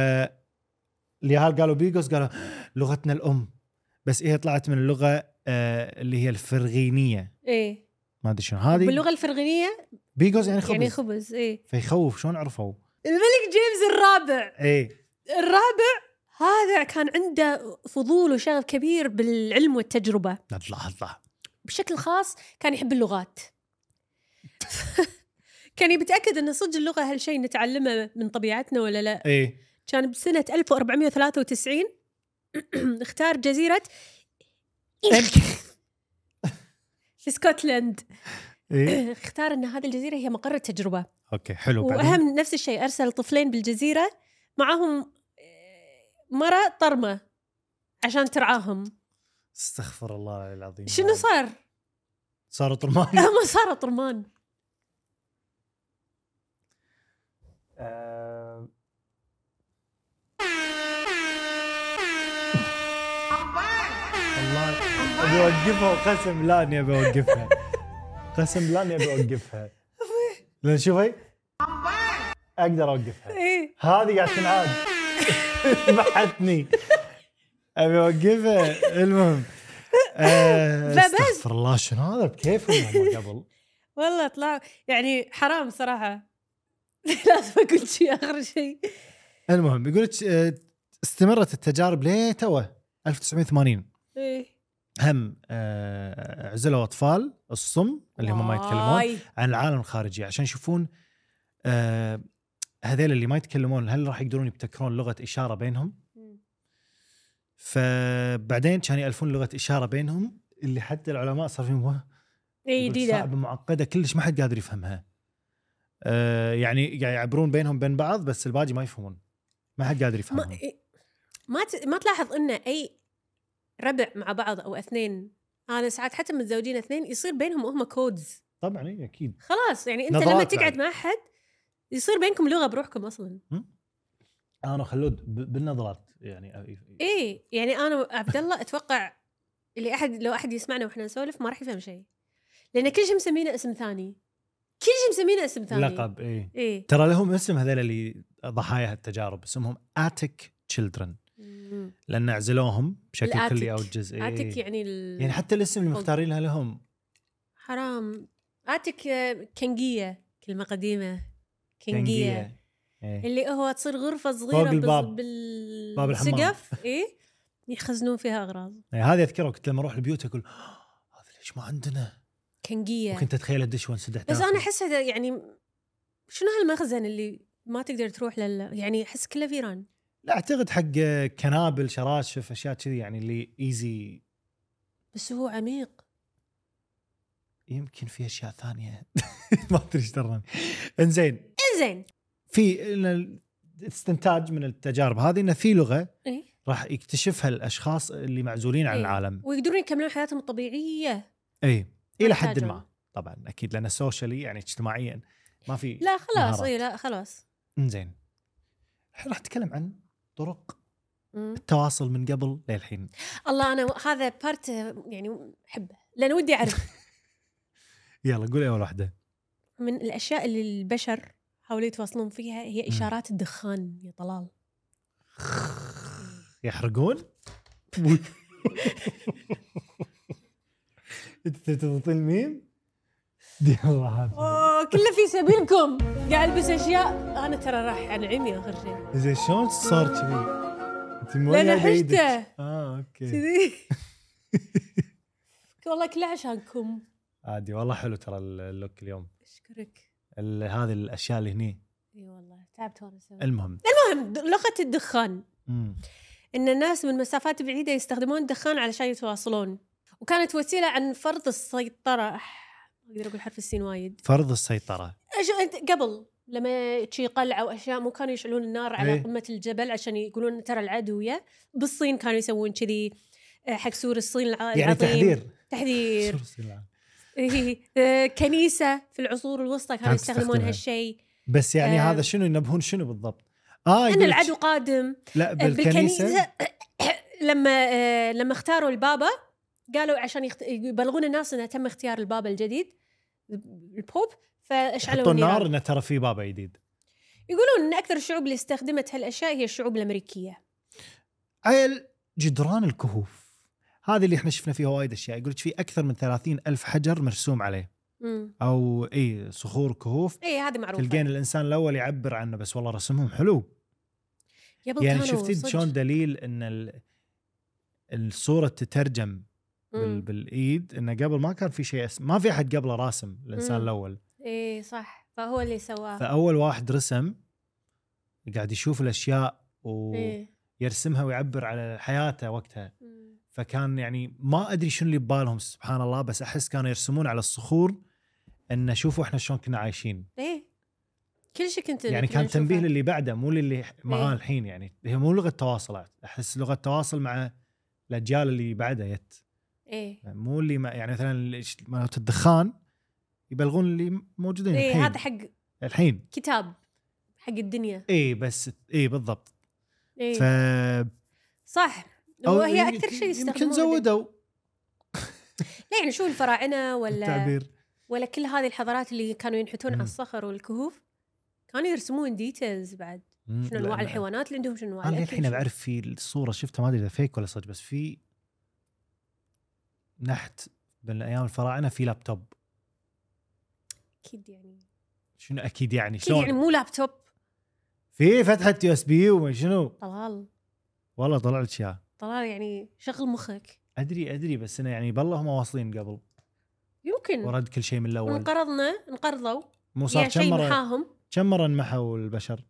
[SPEAKER 1] اليهال قالوا بيجوس قالوا لغتنا الام بس هي طلعت من اللغه آه، اللي هي الفرغينيه
[SPEAKER 2] ايه
[SPEAKER 1] ما ادري شنو هذه
[SPEAKER 2] باللغه الفرغينيه
[SPEAKER 1] بيجوس يعني خبز,
[SPEAKER 2] يعني خبز ايه
[SPEAKER 1] فيخوف شلون عرفوا؟
[SPEAKER 2] الملك جيمس الرابع
[SPEAKER 1] ايه
[SPEAKER 2] الرابع هذا كان عنده فضول وشغف كبير بالعلم والتجربة
[SPEAKER 1] الله الله
[SPEAKER 2] بشكل خاص كان يحب اللغات كان يتأكد أن صدق اللغة هل شيء نتعلمه من طبيعتنا ولا لا
[SPEAKER 1] ايه
[SPEAKER 2] كان بسنة 1493 اختار جزيرة في اسكتلند
[SPEAKER 1] إيه؟
[SPEAKER 2] اختار ان هذه الجزيره هي مقر التجربه
[SPEAKER 1] اوكي حلو بعدين
[SPEAKER 2] واهم نفس الشيء ارسل طفلين بالجزيره معهم آه، مره طرمه عشان ترعاهم
[SPEAKER 1] استغفر الله العلي العظيم
[SPEAKER 2] شنو صار؟
[SPEAKER 1] صار طرمان
[SPEAKER 2] هم صاروا طرمان
[SPEAKER 1] آه، والله ابي اوقفها وقسم لا اني ابي اوقفها قسم لا اني ابي اوقفها لان شوفي اقدر اوقفها
[SPEAKER 2] ايه
[SPEAKER 1] هذه قاعد تنعاد محتني ابي اوقفها المهم آه،
[SPEAKER 2] فبس.
[SPEAKER 1] استغفر الله شنو هذا بكيفهم هم قبل
[SPEAKER 2] والله طلع يعني حرام صراحه لازم اقول شيء اخر شيء
[SPEAKER 1] المهم يقول لك آه، استمرت التجارب ليه توه 1980
[SPEAKER 2] ايه
[SPEAKER 1] هم آه، عزلوا اطفال الصم اللي هم ما يتكلمون
[SPEAKER 2] واي.
[SPEAKER 1] عن العالم الخارجي عشان يشوفون آه، هذيل اللي ما يتكلمون هل راح يقدرون يبتكرون لغه اشاره بينهم؟
[SPEAKER 2] مم.
[SPEAKER 1] فبعدين كانوا يالفون لغه اشاره بينهم اللي حتى العلماء صار فيهم واه
[SPEAKER 2] اي
[SPEAKER 1] يقول
[SPEAKER 2] جديده
[SPEAKER 1] صعبه معقده كلش ما حد قادر يفهمها. آه، يعني قاعد يعبرون بينهم بين بعض بس الباقي ما يفهمون. ما حد قادر
[SPEAKER 2] ما
[SPEAKER 1] يفهمهم.
[SPEAKER 2] إيه، ما ت... ما تلاحظ ان اي ربع مع بعض او اثنين انا ساعات حتى متزوجين اثنين يصير بينهم هم كودز
[SPEAKER 1] طبعا إيه، اكيد
[SPEAKER 2] خلاص يعني انت
[SPEAKER 1] نظرات
[SPEAKER 2] لما
[SPEAKER 1] بعد.
[SPEAKER 2] تقعد مع احد يصير بينكم لغه بروحكم اصلا
[SPEAKER 1] انا خلود ب- بالنظرات يعني
[SPEAKER 2] ايه يعني انا وعبد الله اتوقع اللي احد لو احد يسمعنا واحنا نسولف ما راح يفهم شيء لان كل شيء مسمينا اسم ثاني كل شيء مسمينا اسم ثاني
[SPEAKER 1] لقب اي
[SPEAKER 2] ايه
[SPEAKER 1] ترى لهم اسم هذول اللي ضحايا هالتجارب اسمهم اتيك تشيلدرن
[SPEAKER 2] مم.
[SPEAKER 1] لان عزلوهم بشكل
[SPEAKER 2] الآتيك.
[SPEAKER 1] كلي او جزئي
[SPEAKER 2] اتك يعني ال...
[SPEAKER 1] يعني حتى الاسم اللي مختارينها لهم
[SPEAKER 2] حرام اتك آه، كنجيه كلمه قديمه كنجيه
[SPEAKER 1] تنقية. إيه.
[SPEAKER 2] اللي هو تصير غرفة صغيرة
[SPEAKER 1] فوق الباب.
[SPEAKER 2] بال...
[SPEAKER 1] باب الحمام.
[SPEAKER 2] بالسقف اي يخزنون فيها أغراض
[SPEAKER 1] يعني هذه اذكرها كنت لما اروح البيوت اقول "آه، هذا ليش ما عندنا؟
[SPEAKER 2] كنجية
[SPEAKER 1] وكنت اتخيل ادش وانسدح
[SPEAKER 2] بس
[SPEAKER 1] داخل.
[SPEAKER 2] أنا أحس هذا يعني شنو هالمخزن اللي ما تقدر تروح لل يعني أحس كله فيران
[SPEAKER 1] لا اعتقد حق كنابل شراشف اشياء كذي يعني اللي ايزي
[SPEAKER 2] بس هو عميق
[SPEAKER 1] يمكن في اشياء ثانيه ما ادري ايش درني. انزين
[SPEAKER 2] زين
[SPEAKER 1] في إن الاستنتاج من التجارب هذه انه في لغه
[SPEAKER 2] إيه؟
[SPEAKER 1] راح يكتشفها الاشخاص اللي معزولين عن
[SPEAKER 2] إيه.
[SPEAKER 1] العالم
[SPEAKER 2] ويقدرون يكملون حياتهم الطبيعية
[SPEAKER 1] اي الى حد
[SPEAKER 2] يحتاجون.
[SPEAKER 1] ما طبعا اكيد لان سوشيالي يعني اجتماعيا ما في
[SPEAKER 2] لا خلاص
[SPEAKER 1] مهارات.
[SPEAKER 2] اي لا خلاص
[SPEAKER 1] انزين الحين راح نتكلم عن طرق
[SPEAKER 2] مم.
[SPEAKER 1] التواصل من قبل للحين
[SPEAKER 2] الله أنا هذا بارت يعني أحبه لأن ودي أعرف
[SPEAKER 1] يلا قول اول واحده
[SPEAKER 2] من الأشياء اللي البشر حاولوا يتواصلون فيها هي إشارات الدخان يا طلال
[SPEAKER 1] يحرقون انت تضغطين الميم يلا هذا
[SPEAKER 2] اوه كله في سبيلكم قاعد البس اشياء انا ترى راح انعمي اخر شيء
[SPEAKER 1] زين شلون صار كذي؟ انت مو
[SPEAKER 2] لأن
[SPEAKER 1] جايبة إيدك.
[SPEAKER 2] حشته.
[SPEAKER 1] اه اوكي
[SPEAKER 2] كذي والله كله عشانكم
[SPEAKER 1] عادي والله حلو ترى اللوك اليوم
[SPEAKER 2] اشكرك
[SPEAKER 1] ال- هذه الاشياء اللي هني
[SPEAKER 2] اي والله تعبت وانا اسوي
[SPEAKER 1] المهم
[SPEAKER 2] المهم د- لغه الدخان
[SPEAKER 1] مم.
[SPEAKER 2] ان الناس من مسافات بعيده يستخدمون الدخان علشان يتواصلون وكانت وسيله عن فرض السيطره أح، ما اقدر اقول حرف السين وايد
[SPEAKER 1] فرض السيطره
[SPEAKER 2] أش... أنت قبل لما شي قلعه واشياء مو كانوا يشعلون النار على
[SPEAKER 1] إيه.
[SPEAKER 2] قمه الجبل عشان يقولون ترى العدو يا بالصين كانوا يسوون كذي آه، حق سور الصين الع- العظيم
[SPEAKER 1] يعني تحذير
[SPEAKER 2] تحذير
[SPEAKER 1] سورس العالم.
[SPEAKER 2] إيه. آه، كنيسه في العصور الوسطى كانوا
[SPEAKER 1] كانت
[SPEAKER 2] يستخدمون
[SPEAKER 1] تستخدمها.
[SPEAKER 2] هالشيء
[SPEAKER 1] بس يعني
[SPEAKER 2] آه.
[SPEAKER 1] هذا شنو ينبهون شنو بالضبط؟ اه
[SPEAKER 2] ان
[SPEAKER 1] يقولك-
[SPEAKER 2] العدو قادم
[SPEAKER 1] لا
[SPEAKER 2] آه،
[SPEAKER 1] بالكنيسه
[SPEAKER 2] لما آه، لما اختاروا البابا قالوا عشان يخت... يبلغون الناس انه تم اختيار البابا الجديد البوب فاشعلوا
[SPEAKER 1] يحطون نار
[SPEAKER 2] النار
[SPEAKER 1] انه ترى في بابا جديد
[SPEAKER 2] يقولون ان اكثر الشعوب اللي استخدمت هالاشياء هي الشعوب الامريكيه
[SPEAKER 1] عيل جدران الكهوف هذه اللي احنا شفنا فيها وايد اشياء يقول لك في اكثر من 30 الف حجر مرسوم عليه
[SPEAKER 2] امم
[SPEAKER 1] او اي صخور كهوف
[SPEAKER 2] اي إيه، هذه معروفه
[SPEAKER 1] تلقين الانسان الاول يعبر عنه بس والله رسمهم حلو
[SPEAKER 2] قبل
[SPEAKER 1] يعني
[SPEAKER 2] كانوا
[SPEAKER 1] شفتي
[SPEAKER 2] صدق.
[SPEAKER 1] شلون دليل ان ال- الصوره تترجم بال
[SPEAKER 2] مم.
[SPEAKER 1] بالايد انه قبل ما كان في شيء اسم ما في احد قبله راسم الانسان
[SPEAKER 2] مم. آه.
[SPEAKER 1] الاول
[SPEAKER 2] ايه صح فهو اللي سواه
[SPEAKER 1] فاول واحد رسم قاعد يشوف الاشياء ويرسمها
[SPEAKER 2] ايه
[SPEAKER 1] ويعبر على حياته وقتها
[SPEAKER 2] مم.
[SPEAKER 1] فكان يعني ما ادري شنو اللي ببالهم سبحان الله بس احس كانوا يرسمون على الصخور ان شوفوا احنا شلون كنا عايشين
[SPEAKER 2] ايه كل شيء كنت
[SPEAKER 1] يعني
[SPEAKER 2] كنا
[SPEAKER 1] كان
[SPEAKER 2] نشوفه.
[SPEAKER 1] تنبيه للي بعده مو للي معاه
[SPEAKER 2] إيه.
[SPEAKER 1] الحين يعني هي مو لغه تواصل احس لغه تواصل مع الاجيال اللي بعدها جت
[SPEAKER 2] ايه
[SPEAKER 1] مو اللي ما يعني مثلا اللي- مالت الدخان يبلغون اللي موجودين
[SPEAKER 2] ايه
[SPEAKER 1] الحين
[SPEAKER 2] هذا حق
[SPEAKER 1] الحين
[SPEAKER 2] كتاب حق الدنيا
[SPEAKER 1] اي بس اي بالضبط
[SPEAKER 2] ايه
[SPEAKER 1] ف
[SPEAKER 2] صح
[SPEAKER 1] أو
[SPEAKER 2] وهي
[SPEAKER 1] يمكن-
[SPEAKER 2] اكثر شيء
[SPEAKER 1] يمكن
[SPEAKER 2] يستخدمونه
[SPEAKER 1] زودوا
[SPEAKER 2] لا يعني شو الفراعنه ولا
[SPEAKER 1] التعبير
[SPEAKER 2] ولا كل هذه الحضارات اللي كانوا ينحتون
[SPEAKER 1] مم.
[SPEAKER 2] على الصخر والكهوف كانوا يرسمون ديتيلز بعد
[SPEAKER 1] مم،
[SPEAKER 2] شنو
[SPEAKER 1] لا،
[SPEAKER 2] انواع
[SPEAKER 1] لا.
[SPEAKER 2] الحيوانات اللي عندهم شنو انواع
[SPEAKER 1] انا
[SPEAKER 2] الأكل،
[SPEAKER 1] الحين
[SPEAKER 2] شنو-
[SPEAKER 1] بعرف في الصوره شفتها ما ادري اذا فيك ولا صدق بس في نحت من ايام الفراعنه في لابتوب
[SPEAKER 2] اكيد يعني
[SPEAKER 1] شنو اكيد يعني
[SPEAKER 2] اكيد
[SPEAKER 1] شلون
[SPEAKER 2] يعني مو لابتوب
[SPEAKER 1] في فتحه يو اس بي وما شنو
[SPEAKER 2] طلال
[SPEAKER 1] والله طلع لك اياها
[SPEAKER 2] طلال يعني شغل مخك
[SPEAKER 1] ادري ادري بس انه يعني بالله هم واصلين قبل
[SPEAKER 2] يمكن
[SPEAKER 1] ورد كل شيء من الاول
[SPEAKER 2] انقرضنا انقرضوا
[SPEAKER 1] مو صار
[SPEAKER 2] يعني
[SPEAKER 1] كم
[SPEAKER 2] شيء
[SPEAKER 1] مره
[SPEAKER 2] محاهم
[SPEAKER 1] كم مره انمحوا البشر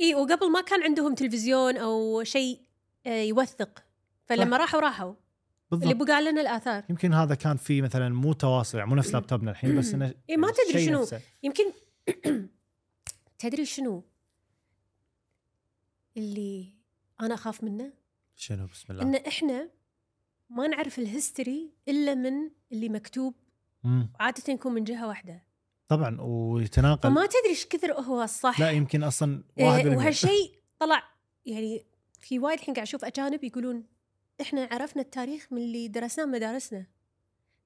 [SPEAKER 2] اي وقبل ما كان عندهم تلفزيون او شيء آه، يوثق فلما راحوا راحوا اللي
[SPEAKER 1] بالضبط
[SPEAKER 2] بقى لنا الاثار
[SPEAKER 1] يمكن هذا كان في مثلا مو تواصل يعني مو نفس لابتوبنا الحين بس انه
[SPEAKER 2] إيه، ما تدري
[SPEAKER 1] شيء
[SPEAKER 2] شنو.
[SPEAKER 1] نفسه.
[SPEAKER 2] يمكن تدري شنو اللي انا اخاف منه
[SPEAKER 1] شنو بسم
[SPEAKER 2] ان
[SPEAKER 1] الله
[SPEAKER 2] احنا ما نعرف الهيستوري الا من اللي مكتوب
[SPEAKER 1] مم.
[SPEAKER 2] عاده يكون من جهه واحده
[SPEAKER 1] طبعا ويتناقل
[SPEAKER 2] فما تدري ايش كثر هو الصح
[SPEAKER 1] لا يمكن اصلا واحد
[SPEAKER 2] إيه، وهالشيء طلع يعني في وايد الحين قاعد اشوف اجانب يقولون احنا عرفنا التاريخ من اللي درسناه مدارسنا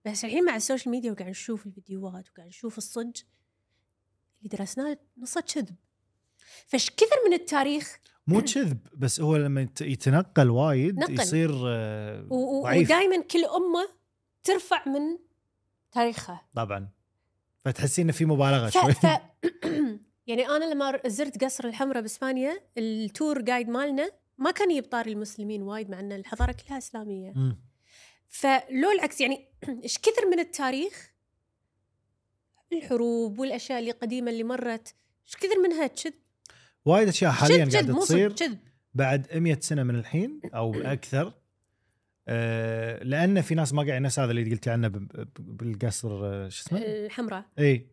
[SPEAKER 2] بس الحين مع السوشيال ميديا وقاعد نشوف الفيديوهات وقاعد نشوف الصج اللي درسناه نصه كذب فش كثر من التاريخ
[SPEAKER 1] مو كذب بس هو لما يت- يتنقل وايد
[SPEAKER 2] نقل.
[SPEAKER 1] يصير آه،
[SPEAKER 2] و- و-
[SPEAKER 1] ضعيف
[SPEAKER 2] ودائما كل امه ترفع من تاريخها
[SPEAKER 1] طبعا فتحسين انه في مبالغه
[SPEAKER 2] ف...
[SPEAKER 1] آه، شوي
[SPEAKER 2] ف... يعني انا لما ر- زرت قصر الحمراء باسبانيا التور جايد مالنا ما كان يجيب طاري المسلمين وايد مع ان الحضاره كلها اسلاميه
[SPEAKER 1] مم.
[SPEAKER 2] فلو العكس يعني ايش كثر من التاريخ الحروب والاشياء اللي قديمه اللي مرت ايش كثر منها كذب
[SPEAKER 1] وايد اشياء حاليا
[SPEAKER 2] كذب كذب
[SPEAKER 1] قاعده
[SPEAKER 2] مو
[SPEAKER 1] تصير
[SPEAKER 2] صدق كذب
[SPEAKER 1] بعد 100 سنه من الحين او اكثر آه، لان في ناس ما قاعد نفس هذا اللي قلتي عنه ب- ب- بالقصر آه، شو اسمه؟
[SPEAKER 2] الحمراء
[SPEAKER 1] اي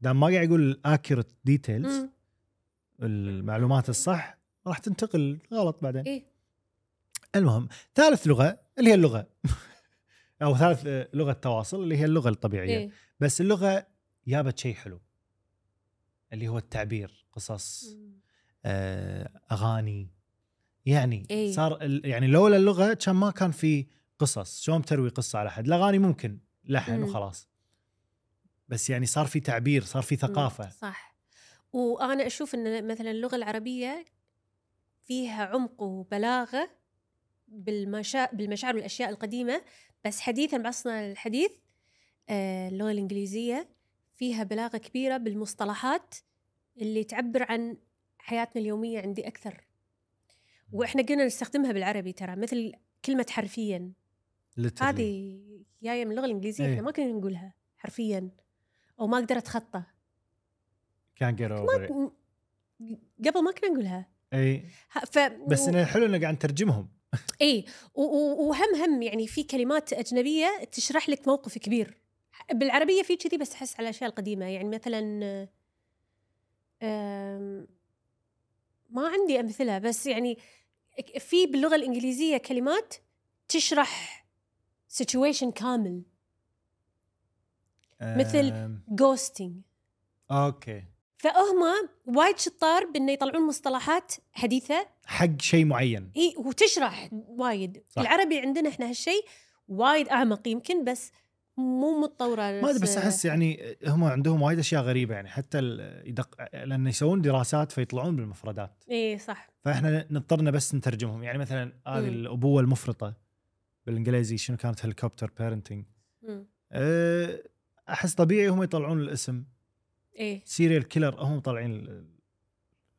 [SPEAKER 1] دام ما قاعد يقول اكيوريت ديتيلز
[SPEAKER 2] مم.
[SPEAKER 1] المعلومات الصح راح تنتقل غلط بعدين
[SPEAKER 2] ايه
[SPEAKER 1] المهم ثالث لغه اللي هي اللغه او ثالث آه، لغه تواصل اللي هي اللغه الطبيعيه
[SPEAKER 2] ايه
[SPEAKER 1] بس اللغه جابت شيء حلو اللي هو التعبير قصص
[SPEAKER 2] مم.
[SPEAKER 1] آه، اغاني يعني
[SPEAKER 2] إي.
[SPEAKER 1] صار ال- يعني لولا اللغه كان ما كان في قصص شلون بتروي قصه على احد الاغاني ممكن لحن
[SPEAKER 2] مم.
[SPEAKER 1] وخلاص بس يعني صار في تعبير صار في ثقافه
[SPEAKER 2] صح وانا اشوف ان مثلا اللغه العربيه فيها عمق وبلاغه بالمشا... بالمشاعر والاشياء القديمه بس حديثا بعصرنا الحديث آه، اللغه الانجليزيه فيها بلاغه كبيره بالمصطلحات اللي تعبر عن حياتنا اليوميه عندي اكثر واحنا قلنا نستخدمها بالعربي ترى مثل كلمه حرفيا
[SPEAKER 1] literally.
[SPEAKER 2] هذه جايه من اللغه الانجليزيه
[SPEAKER 1] إيه.
[SPEAKER 2] احنا ما كنا نقولها حرفيا او ما اقدر اتخطى
[SPEAKER 1] can't get over it.
[SPEAKER 2] قبل ما كنا نقولها
[SPEAKER 1] اي
[SPEAKER 2] ه- ف
[SPEAKER 1] بس
[SPEAKER 2] و-
[SPEAKER 1] انه حلو انه قاعد نترجمهم
[SPEAKER 2] اي و- و- وهم هم يعني في كلمات اجنبيه تشرح لك موقف كبير ح- بالعربيه في كذي بس احس على الاشياء القديمه يعني مثلا آم، ما عندي امثله بس يعني ك- في باللغه الانجليزيه كلمات تشرح سيتويشن كامل مثل-
[SPEAKER 1] آم،
[SPEAKER 2] جوستنج
[SPEAKER 1] اوكي
[SPEAKER 2] فهم وايد شطار بانه يطلعون مصطلحات حديثه
[SPEAKER 1] حق شيء معين
[SPEAKER 2] اي وتشرح وايد
[SPEAKER 1] صح.
[SPEAKER 2] صح. العربي عندنا احنا هالشيء وايد اعمق يمكن بس مو متطوره
[SPEAKER 1] ما ادري
[SPEAKER 2] آه.
[SPEAKER 1] بس احس يعني هم عندهم وايد اشياء غريبه يعني حتى ال- يدق لان يسوون دراسات فيطلعون بالمفردات
[SPEAKER 2] اي صح
[SPEAKER 1] فاحنا نضطرنا بس نترجمهم يعني مثلا هذه
[SPEAKER 2] مم.
[SPEAKER 1] الابوه المفرطه بالانجليزي شنو كانت هليكوبتر بيرنتنج
[SPEAKER 2] مم.
[SPEAKER 1] احس طبيعي هم يطلعون الاسم
[SPEAKER 2] ايه
[SPEAKER 1] سيريال كيلر هم طالعين ال-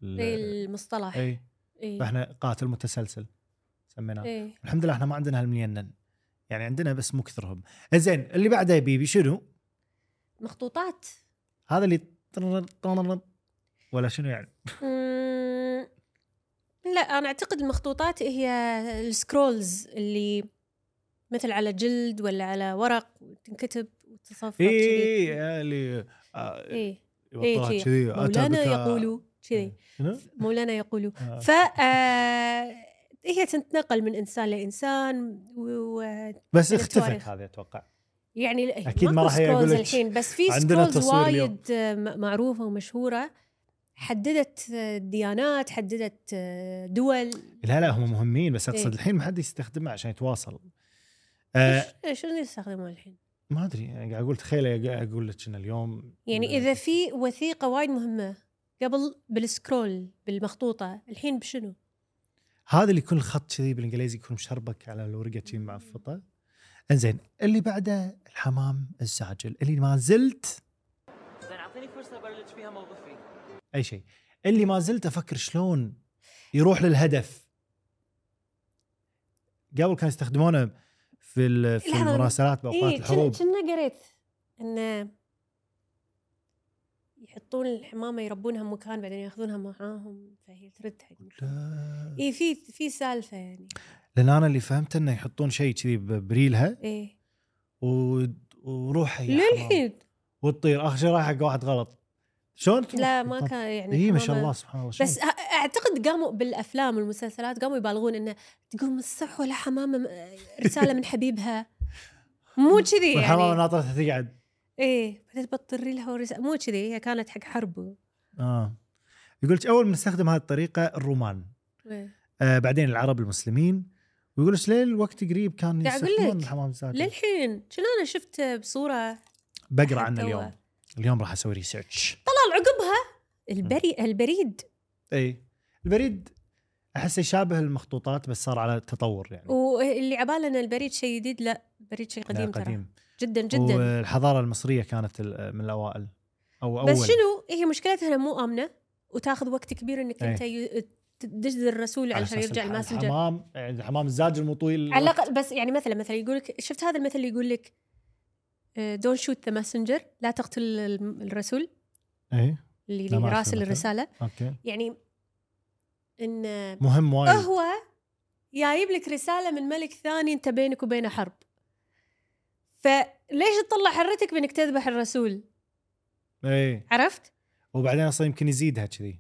[SPEAKER 1] ال-
[SPEAKER 2] اي المصطلح اي
[SPEAKER 1] اي فاحنا قاتل متسلسل سميناه
[SPEAKER 2] اي
[SPEAKER 1] الحمد لله احنا ما عندنا هالملينن يعني عندنا بس مو كثرهم زين اللي بعده يا بيبي شنو
[SPEAKER 2] مخطوطات
[SPEAKER 1] هذا اللي طررر- طررر- ولا شنو يعني
[SPEAKER 2] مم. لا انا اعتقد المخطوطات هي السكرولز اللي مثل على جلد ولا على ورق تنكتب وتصفق
[SPEAKER 1] اي
[SPEAKER 2] كذي.
[SPEAKER 1] إي، اللي آه،
[SPEAKER 2] اي
[SPEAKER 1] يوطلها
[SPEAKER 2] إيه،
[SPEAKER 1] كذي أتى
[SPEAKER 2] مولانا
[SPEAKER 1] بك- إيه.
[SPEAKER 2] يقول كذي
[SPEAKER 1] شنو؟
[SPEAKER 2] مولانا يقول
[SPEAKER 1] آه.
[SPEAKER 2] ف آه، هي تتنقل من انسان لانسان ويعني
[SPEAKER 1] بس
[SPEAKER 2] من
[SPEAKER 1] اختفت
[SPEAKER 2] التواريخ.
[SPEAKER 1] هذه اتوقع
[SPEAKER 2] اكيد
[SPEAKER 1] ما راح يقول لك
[SPEAKER 2] الحين بس في
[SPEAKER 1] عندنا
[SPEAKER 2] سكرولز
[SPEAKER 1] تصوير اليوم.
[SPEAKER 2] وايد آه، م- معروفه ومشهوره حددت آه، ديانات حددت آه، دول
[SPEAKER 1] لا لا هم مهمين بس اقصد
[SPEAKER 2] إيه.
[SPEAKER 1] الحين ما حد يستخدمها عشان يتواصل آه
[SPEAKER 2] إيش- شنو يستخدمون الحين؟
[SPEAKER 1] ما ادري يعني قاعد اقول تخيل قاعد اقول لك ان اليوم
[SPEAKER 2] يعني اذا في وثيقه وايد مهمه قبل بالسكرول بالمخطوطه الحين بشنو؟
[SPEAKER 1] هذا اللي يكون الخط كذي بالانجليزي يكون مشربك على الورقه كذي معفطه انزين اللي بعده الحمام الزاجل اللي ما زلت
[SPEAKER 4] زين اعطيني فرصه ابلش فيها موظفي
[SPEAKER 1] اي شيء اللي ما زلت افكر شلون يروح للهدف قبل كانوا يستخدمونه في ال- في
[SPEAKER 2] لحظة.
[SPEAKER 1] المراسلات باوقات
[SPEAKER 2] اي
[SPEAKER 1] الحروب
[SPEAKER 2] إيه، كنا قريت ان يحطون الحمامه يربونها مكان بعدين ياخذونها معاهم فهي ترد حق
[SPEAKER 1] لا.
[SPEAKER 2] اي في في سالفه يعني
[SPEAKER 1] لان انا اللي فهمته انه يحطون شيء كذي بريلها
[SPEAKER 2] ايه
[SPEAKER 1] و... وروحه يا حمام.
[SPEAKER 2] للحين
[SPEAKER 1] وتطير اخر شيء رايح حق واحد غلط شلون
[SPEAKER 2] لا ما كان يعني
[SPEAKER 1] اي إيه، ما شاء
[SPEAKER 2] الحمامة-
[SPEAKER 1] الله سبحان الله شلون؟
[SPEAKER 2] بس أ- اعتقد قاموا بالافلام والمسلسلات قاموا يبالغون انه تقوم الصبح ولا حمامه م- رساله من حبيبها مو كذي
[SPEAKER 1] والحمامه
[SPEAKER 2] يعني
[SPEAKER 1] ناطرتها تقعد
[SPEAKER 2] ايه بعدين تبطري لها ورسالة مو كذي هي كانت حق حرب
[SPEAKER 1] اه يقول اول ما نستخدم هذه الطريقه الرومان
[SPEAKER 2] إيه.
[SPEAKER 1] آه بعدين العرب المسلمين ويقول لك ليه الوقت قريب كان
[SPEAKER 2] قاعد أقول
[SPEAKER 1] يستخدمون
[SPEAKER 2] لك.
[SPEAKER 1] الحمام الزاجل
[SPEAKER 2] للحين شنو انا شفت بصوره
[SPEAKER 1] بقرا
[SPEAKER 2] لحد
[SPEAKER 1] عنه
[SPEAKER 2] توا.
[SPEAKER 1] اليوم اليوم راح اسوي ريسيرش
[SPEAKER 2] طلع عقبها البري البريد
[SPEAKER 1] اي إيه. البريد احسه يشابه المخطوطات بس صار على تطور يعني
[SPEAKER 2] واللي عباله ان البريد شيء جديد لا البريد شيء
[SPEAKER 1] لا،
[SPEAKER 2] قديم, ترى جدا جدا
[SPEAKER 1] والحضاره المصريه كانت ال- من الاوائل او اول
[SPEAKER 2] بس شنو هي مشكلتها انها مو امنه وتاخذ وقت كبير انك
[SPEAKER 1] إيه.
[SPEAKER 2] انت يو- تدز الرسول
[SPEAKER 1] على
[SPEAKER 2] علشان
[SPEAKER 1] أساس
[SPEAKER 2] يرجع
[SPEAKER 1] الح-
[SPEAKER 2] الماسنجر
[SPEAKER 1] الحمام يعني الحمام الزاجل مو طويل
[SPEAKER 2] على الاقل بس يعني مثلا مثلا يقول لك شفت هذا المثل اللي يقول لك آه، دونت شوت ذا ماسنجر لا تقتل الم- الرسول
[SPEAKER 1] اي
[SPEAKER 2] اللي
[SPEAKER 1] لا، ما
[SPEAKER 2] اللي
[SPEAKER 1] أعرف
[SPEAKER 2] راسل
[SPEAKER 1] المثل.
[SPEAKER 2] الرساله
[SPEAKER 1] اوكي
[SPEAKER 2] يعني ان
[SPEAKER 1] مهم وايد
[SPEAKER 2] هو جايب لك رساله من ملك ثاني انت بينك وبينه حرب فليش تطلع حرتك بانك تذبح الرسول
[SPEAKER 1] اي
[SPEAKER 2] عرفت؟
[SPEAKER 1] إيه، وبعدين اصلا يمكن يزيدها كذي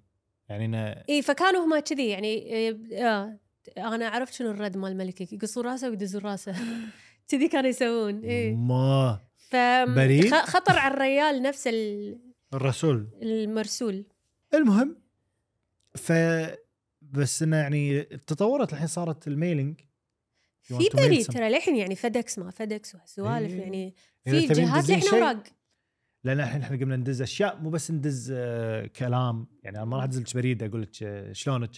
[SPEAKER 1] يعني انه
[SPEAKER 2] اي إيه، فكانوا هما كذي يعني إيه، اه انا عرفت شنو الرد مال ملكك يقصون راسه ويدزون راسه كذي كانوا يسوون اي
[SPEAKER 1] ما
[SPEAKER 2] ف
[SPEAKER 1] بريد؟
[SPEAKER 2] خ- خطر على الريال نفس ال-
[SPEAKER 1] الرسول
[SPEAKER 2] المرسول
[SPEAKER 1] المهم ف بس انه يعني تطورت الحين صارت الميلينج You want
[SPEAKER 2] في
[SPEAKER 1] to mail
[SPEAKER 2] بريد
[SPEAKER 1] some-
[SPEAKER 2] ترى للحين يعني فدكس ما فدكس وهالسوالف
[SPEAKER 1] إيه.
[SPEAKER 2] يعني
[SPEAKER 1] إذا
[SPEAKER 2] في
[SPEAKER 1] تبين
[SPEAKER 2] جهاز
[SPEAKER 1] تدزين
[SPEAKER 2] للحين
[SPEAKER 1] شيء،
[SPEAKER 2] اوراق
[SPEAKER 1] لان الحين احنا قمنا ندز اشياء مو بس ندز آه، كلام يعني انا ما راح ادز لك بريد اقول لك آه، شلونك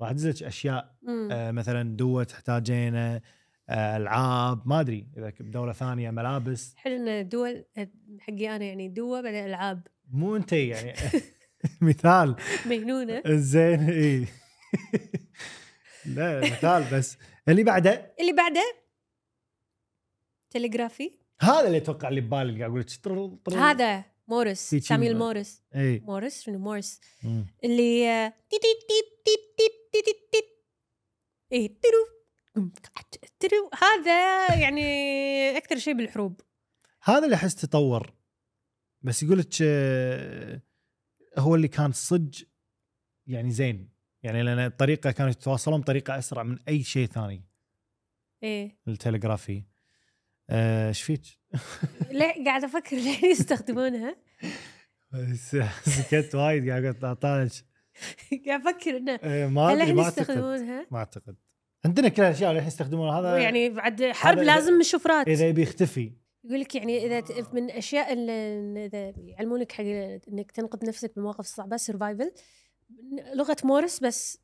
[SPEAKER 1] راح ادز لك اشياء
[SPEAKER 2] أمم.
[SPEAKER 1] آه، مثلا دواء تحتاجينه آه، العاب ما ادري اذا ك- بدوله ثانيه ملابس
[SPEAKER 2] حلو ان دول حقي انا يعني دوا بعدين العاب
[SPEAKER 1] مو انت يعني مثال
[SPEAKER 2] مجنونه
[SPEAKER 1] زين اي لا مثال بس اللي بعده
[SPEAKER 2] اللي بعده تلغرافي
[SPEAKER 1] هذا اللي اتوقع اللي ببالي اللي قاعد اقول لك ترر- ترر.
[SPEAKER 2] هذا مورس
[SPEAKER 1] طيب. في شي
[SPEAKER 2] ساميل
[SPEAKER 1] م-
[SPEAKER 2] مورس
[SPEAKER 1] اي
[SPEAKER 2] مورس شنو مورس
[SPEAKER 1] مم.
[SPEAKER 2] اللي آه، تي- تي- تي- تي- تي- تي- تي- تي. ايه ترو ترو هذا يعني اكثر شيء بالحروب
[SPEAKER 1] هذا اللي احس تطور بس يقول لك آه، هو اللي كان صج يعني زين يعني لان الطريقه كانوا يتواصلون بطريقه اسرع من اي شيء ثاني
[SPEAKER 2] ايه
[SPEAKER 1] التلغرافي آه، ايش فيك؟
[SPEAKER 2] ليه قاعد افكر ليه يستخدمونها
[SPEAKER 1] بس سكت وايد قاعد أقول اطالج
[SPEAKER 2] قاعد افكر انه
[SPEAKER 1] آه، ما
[SPEAKER 2] هل
[SPEAKER 1] ادري
[SPEAKER 2] احنا
[SPEAKER 1] ما اعتقد
[SPEAKER 2] يستخدمونها
[SPEAKER 1] ما اعتقد عندنا كل الاشياء اللي الحين يستخدمونها هذا
[SPEAKER 2] يعني بعد حرب
[SPEAKER 1] هذا إذا-
[SPEAKER 2] لازم شفرات
[SPEAKER 1] اذا يبي يختفي
[SPEAKER 2] يقول لك يعني اذا ت- من اشياء اللي اذا يعلمونك حق انك تنقذ نفسك بالمواقف الصعبه سرفايفل لغه مورس بس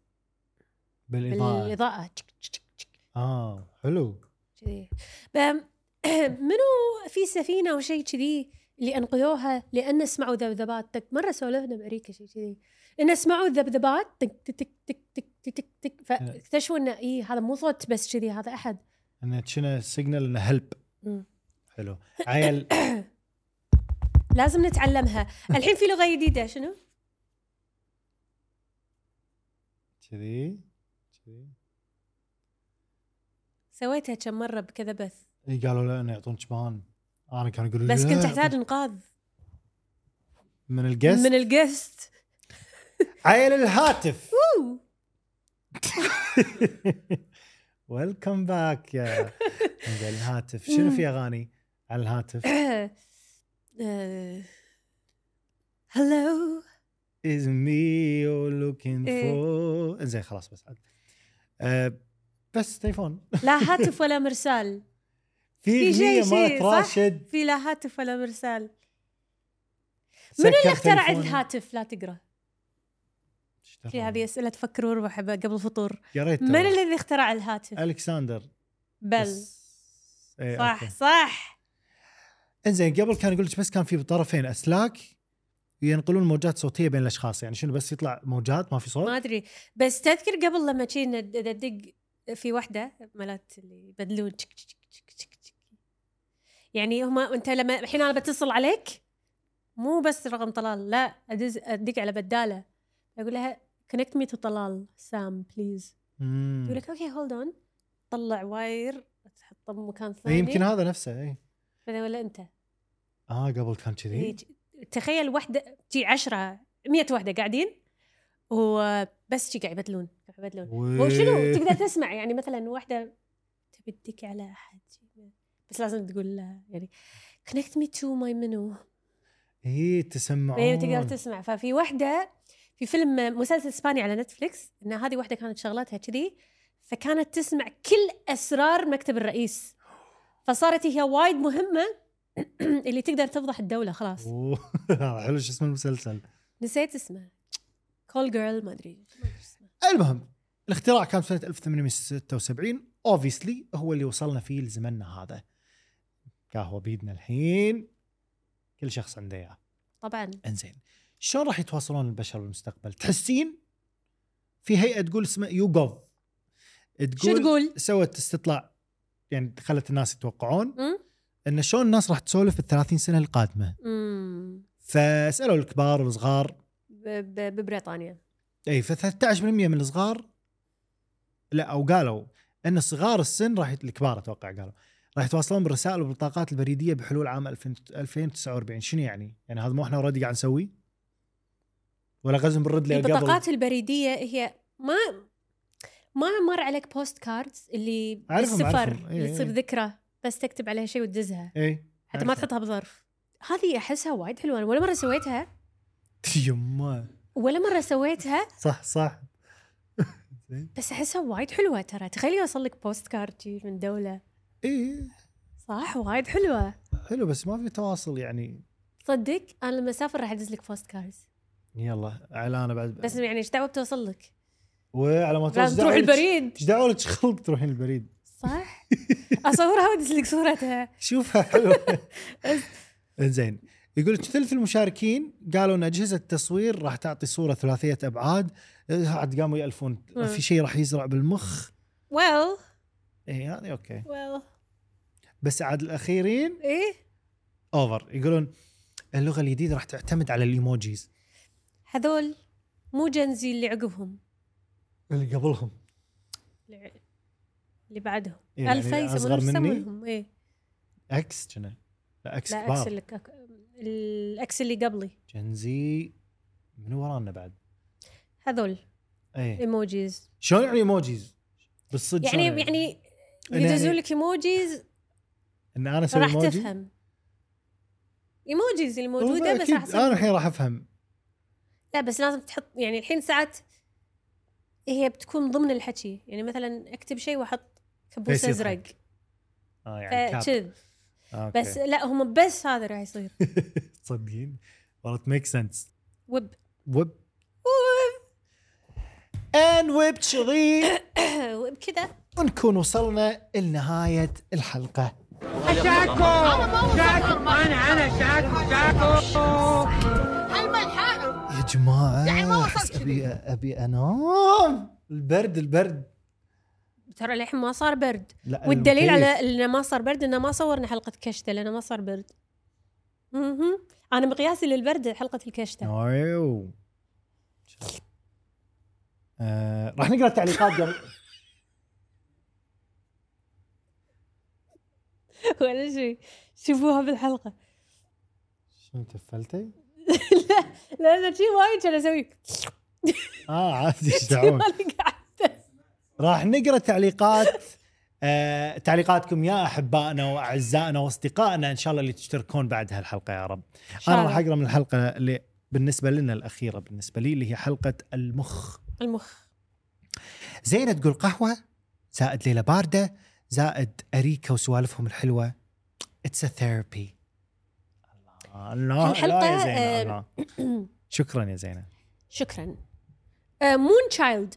[SPEAKER 1] بالاضاءه
[SPEAKER 2] بالاضاءه تشك تشك تشك تشك
[SPEAKER 1] اه حلو
[SPEAKER 2] كذي ب- منو في سفينه او شيء كذي اللي انقذوها لان سمعوا ذبذبات تك مره سولفنا بامريكا شيء كذي ان سمعوا ذبذبات تك تك تك تك تك تك, تك, تك فاكتشفوا انه اي إيه، هذا مو صوت بس كذي هذا احد
[SPEAKER 1] انه شنو سيجنال انه هلب
[SPEAKER 2] مم.
[SPEAKER 1] حلو عيل
[SPEAKER 2] لازم نتعلمها الحين في لغه جديده شنو
[SPEAKER 1] كذي كذي
[SPEAKER 2] سويتها كم مره بكذا بث
[SPEAKER 1] إي قالوا لا انه يعطونك بان انا كان اقول
[SPEAKER 2] بس
[SPEAKER 1] لا،
[SPEAKER 2] كنت احتاج انقاذ
[SPEAKER 1] من الجست
[SPEAKER 2] من الجست
[SPEAKER 1] عيل الهاتف
[SPEAKER 2] أوه.
[SPEAKER 1] ويلكم باك يا عيل الهاتف شنو في اغاني على الهاتف
[SPEAKER 2] آه. هلو
[SPEAKER 1] از مي لوكينج
[SPEAKER 2] إيه.
[SPEAKER 1] فور زين خلاص بس عاد أه بس تليفون
[SPEAKER 2] لا هاتف ولا مرسال
[SPEAKER 1] في
[SPEAKER 2] في شيء-
[SPEAKER 1] شيء مالت
[SPEAKER 2] شيء، صح؟
[SPEAKER 1] راشد
[SPEAKER 2] في لا هاتف ولا مرسال منو اللي
[SPEAKER 1] سكر
[SPEAKER 2] اخترع
[SPEAKER 1] تليفونه.
[SPEAKER 2] الهاتف لا تقرا
[SPEAKER 1] إيش ترى؟
[SPEAKER 2] في هذه اسئله تفكروا روح حبا- قبل الفطور
[SPEAKER 1] يا ريت
[SPEAKER 2] من
[SPEAKER 1] ترى.
[SPEAKER 2] الذي اخترع الهاتف
[SPEAKER 1] الكساندر
[SPEAKER 2] بل
[SPEAKER 1] بس- إيه،
[SPEAKER 2] صح
[SPEAKER 1] أوكي.
[SPEAKER 2] صح
[SPEAKER 1] انزين قبل كان يقول لك بس كان في طرفين اسلاك ينقلون موجات صوتيه بين الاشخاص يعني شنو بس يطلع موجات ما في
[SPEAKER 2] ما
[SPEAKER 1] صوت
[SPEAKER 2] ادري بس تذكر قبل لما جينا ندق في وحده مالت اللي يبدلون تشك تشك تشك تشك تشك يعني هما انت لما الحين انا بتصل عليك مو بس رقم طلال لا ادز ادق على بداله اقول لها كونكت مي تو طلال سام بليز
[SPEAKER 1] مم.
[SPEAKER 2] يقول لك اوكي هولد اون طلع واير تحطه بمكان
[SPEAKER 1] إيه،
[SPEAKER 2] ثاني
[SPEAKER 1] يمكن إيه. هذا نفسه اي
[SPEAKER 2] بعدين ولا انت
[SPEAKER 1] اه قبل كان كذي
[SPEAKER 2] هيج- تخيل وحده تي عشرة مية وحده قاعدين وبس شي قاعد يبدلون قاعد يبدلون
[SPEAKER 1] و-
[SPEAKER 2] وشنو تقدر تسمع يعني مثلا واحده تبي تدك على احد بس لازم تقول لها يعني كونكت مي تو ماي منو
[SPEAKER 1] اي تسمعون
[SPEAKER 2] ايوه تقدر تسمع ففي واحده في فيلم مسلسل اسباني على نتفلكس ان هذه واحده كانت شغلتها كذي فكانت تسمع كل اسرار مكتب الرئيس فصارت هي وايد مهمه اللي تقدر تفضح الدوله خلاص
[SPEAKER 1] أوه، حلو شو اسم المسلسل
[SPEAKER 2] نسيت اسمه كول جيرل ما ادري ما أدري اسمه.
[SPEAKER 1] المهم الاختراع كان سنه 1876 اوبسلي هو اللي وصلنا فيه لزمننا هذا قهوه بيدنا الحين كل شخص عنده اياه
[SPEAKER 2] طبعا
[SPEAKER 1] انزين شلون راح يتواصلون البشر بالمستقبل تحسين في هيئه تقول اسمها يوغوف
[SPEAKER 2] شو تقول؟
[SPEAKER 1] سوت استطلاع يعني خلت الناس يتوقعون
[SPEAKER 2] أم؟
[SPEAKER 1] ان شلون الناس راح تسولف في 30 سنه القادمه
[SPEAKER 2] أمم.
[SPEAKER 1] فسالوا الكبار والصغار
[SPEAKER 2] ب- ب- ببريطانيا
[SPEAKER 1] اي ف 13% من الصغار لا او قالوا ان صغار السن راح يت- الكبار اتوقع قالوا راح يتواصلون بالرسائل والبطاقات البريديه بحلول عام 2000 2049 شنو يعني؟ يعني هذا مو احنا اوريدي قاعد نسوي؟ ولا غزم بنرد له قبل-
[SPEAKER 2] البطاقات البريديه هي ما ما مر عليك بوست كاردز اللي
[SPEAKER 1] أعرفهم- إيه،
[SPEAKER 2] بالسفر
[SPEAKER 1] أعرفهم. إي-
[SPEAKER 2] اللي تصير
[SPEAKER 1] إي.
[SPEAKER 2] ذكرى بس تكتب عليها شيء وتدزها
[SPEAKER 1] اي
[SPEAKER 2] حتى ما
[SPEAKER 1] أعرفها.
[SPEAKER 2] تحطها بظرف هذه احسها وايد حلوه أنا ولا مره سويتها
[SPEAKER 1] يما
[SPEAKER 2] ولا مره سويتها
[SPEAKER 1] صح صح
[SPEAKER 2] بس احسها وايد حلوه ترى تخيل يوصل لك بوست كارد شي من دوله
[SPEAKER 1] اي
[SPEAKER 2] صح وايد حلوه
[SPEAKER 1] حلو بس ما في تواصل يعني
[SPEAKER 2] صدق انا لما اسافر راح ادز لك بوست كاردز
[SPEAKER 1] يلا اعلانه بعد
[SPEAKER 2] بس يعني ايش دعوه بتوصل لك؟
[SPEAKER 1] وعلى ما توصل
[SPEAKER 2] لازم تروح البريد
[SPEAKER 1] ايش دعوه لك خلق تروحين البريد؟
[SPEAKER 2] صح؟ اصورها وادز لك صورتها
[SPEAKER 1] شوفها حلوه زين يقول لك ثلث المشاركين قالوا ان اجهزه التصوير راح تعطي صوره ثلاثيه ابعاد آه، عاد قاموا يالفون
[SPEAKER 2] مم.
[SPEAKER 1] في شيء راح يزرع بالمخ
[SPEAKER 2] ويل
[SPEAKER 1] اي هذه اوكي
[SPEAKER 2] ويل
[SPEAKER 1] بس عاد الاخيرين
[SPEAKER 2] ايه
[SPEAKER 1] اوفر يقولون اللغه الجديده راح تعتمد على الايموجيز
[SPEAKER 2] هذول مو جنزي اللي عقبهم
[SPEAKER 1] اللي قبلهم
[SPEAKER 2] اللي ع- اللي بعدهم
[SPEAKER 1] يعني
[SPEAKER 2] الفا يسمون-
[SPEAKER 1] اصغر
[SPEAKER 2] إيش
[SPEAKER 1] مني
[SPEAKER 2] يسمونهم ايه
[SPEAKER 1] اكس كنا لا اكس
[SPEAKER 2] لا اكس
[SPEAKER 1] كبار
[SPEAKER 2] اللي ك- الاكس اللي قبلي
[SPEAKER 1] جنزي من ورانا بعد
[SPEAKER 2] هذول
[SPEAKER 1] إيه. اي
[SPEAKER 2] ايموجيز
[SPEAKER 1] شلون يعني ايموجيز بالصدق
[SPEAKER 2] يعني
[SPEAKER 1] شلون
[SPEAKER 2] يعني
[SPEAKER 1] يعني-
[SPEAKER 2] يدزوا لك ايموجيز
[SPEAKER 1] ان انا اسوي
[SPEAKER 2] راح
[SPEAKER 1] ايموجي
[SPEAKER 2] تفهم ايموجيز اللي موجوده بس راح
[SPEAKER 1] أكيد. انا
[SPEAKER 2] تصير
[SPEAKER 1] الحين راح افهم
[SPEAKER 2] لا بس لازم تحط يعني الحين ساعات هي بتكون ضمن الحكي يعني مثلا اكتب شيء واحط
[SPEAKER 1] بس
[SPEAKER 2] كبوس
[SPEAKER 1] يضحك.
[SPEAKER 2] ازرق
[SPEAKER 1] اه يعني كاب.
[SPEAKER 2] فكذب
[SPEAKER 1] آه،
[SPEAKER 2] بس لا هم بس هذا راح يصير
[SPEAKER 1] أوكي. تصدقين طيب، والله ميك سنس
[SPEAKER 2] وب
[SPEAKER 1] ويب ان ويب تشري
[SPEAKER 2] وب كذا
[SPEAKER 1] ونكون وصلنا لنهاية الحلقة يا جماعة
[SPEAKER 2] يعني
[SPEAKER 1] أحس أبي أبي أنام البرد البرد
[SPEAKER 2] ترى للحين ما صار برد
[SPEAKER 1] لا
[SPEAKER 2] والدليل
[SPEAKER 1] المكيف.
[SPEAKER 2] على انه ما صار برد انه ما صورنا حلقه كشته لانه ما صار برد اها انا مقياسي للبرد حلقه الكشته
[SPEAKER 1] أيوه. آه، راح نقرا التعليقات قبل
[SPEAKER 2] ولا شيء شوفوها بالحلقه
[SPEAKER 1] شنو تفلتي؟
[SPEAKER 2] لا لان شيء وايد كان اسوي
[SPEAKER 1] اه عادي ايش دعوك
[SPEAKER 2] ماني قاعده
[SPEAKER 1] راح نقرا تعليقات آه، تعليقاتكم يا احبائنا واعزائنا واصدقائنا ان شاء الله اللي تشتركون بعد هالحلقه يا رب. انا راح اقرا من الحلقه اللي بالنسبه لنا الاخيره بالنسبه لي اللي هي حلقه المخ.
[SPEAKER 2] المخ
[SPEAKER 1] زينه تقول قهوه زائد ليله بارده زائد اريكا وسوالفهم الحلوه اتس ا ثيرابي الله
[SPEAKER 2] الحلقة،
[SPEAKER 1] الله يا زينه
[SPEAKER 2] آه،
[SPEAKER 1] الله. شكرا يا زينه
[SPEAKER 2] شكرا مون تشايلد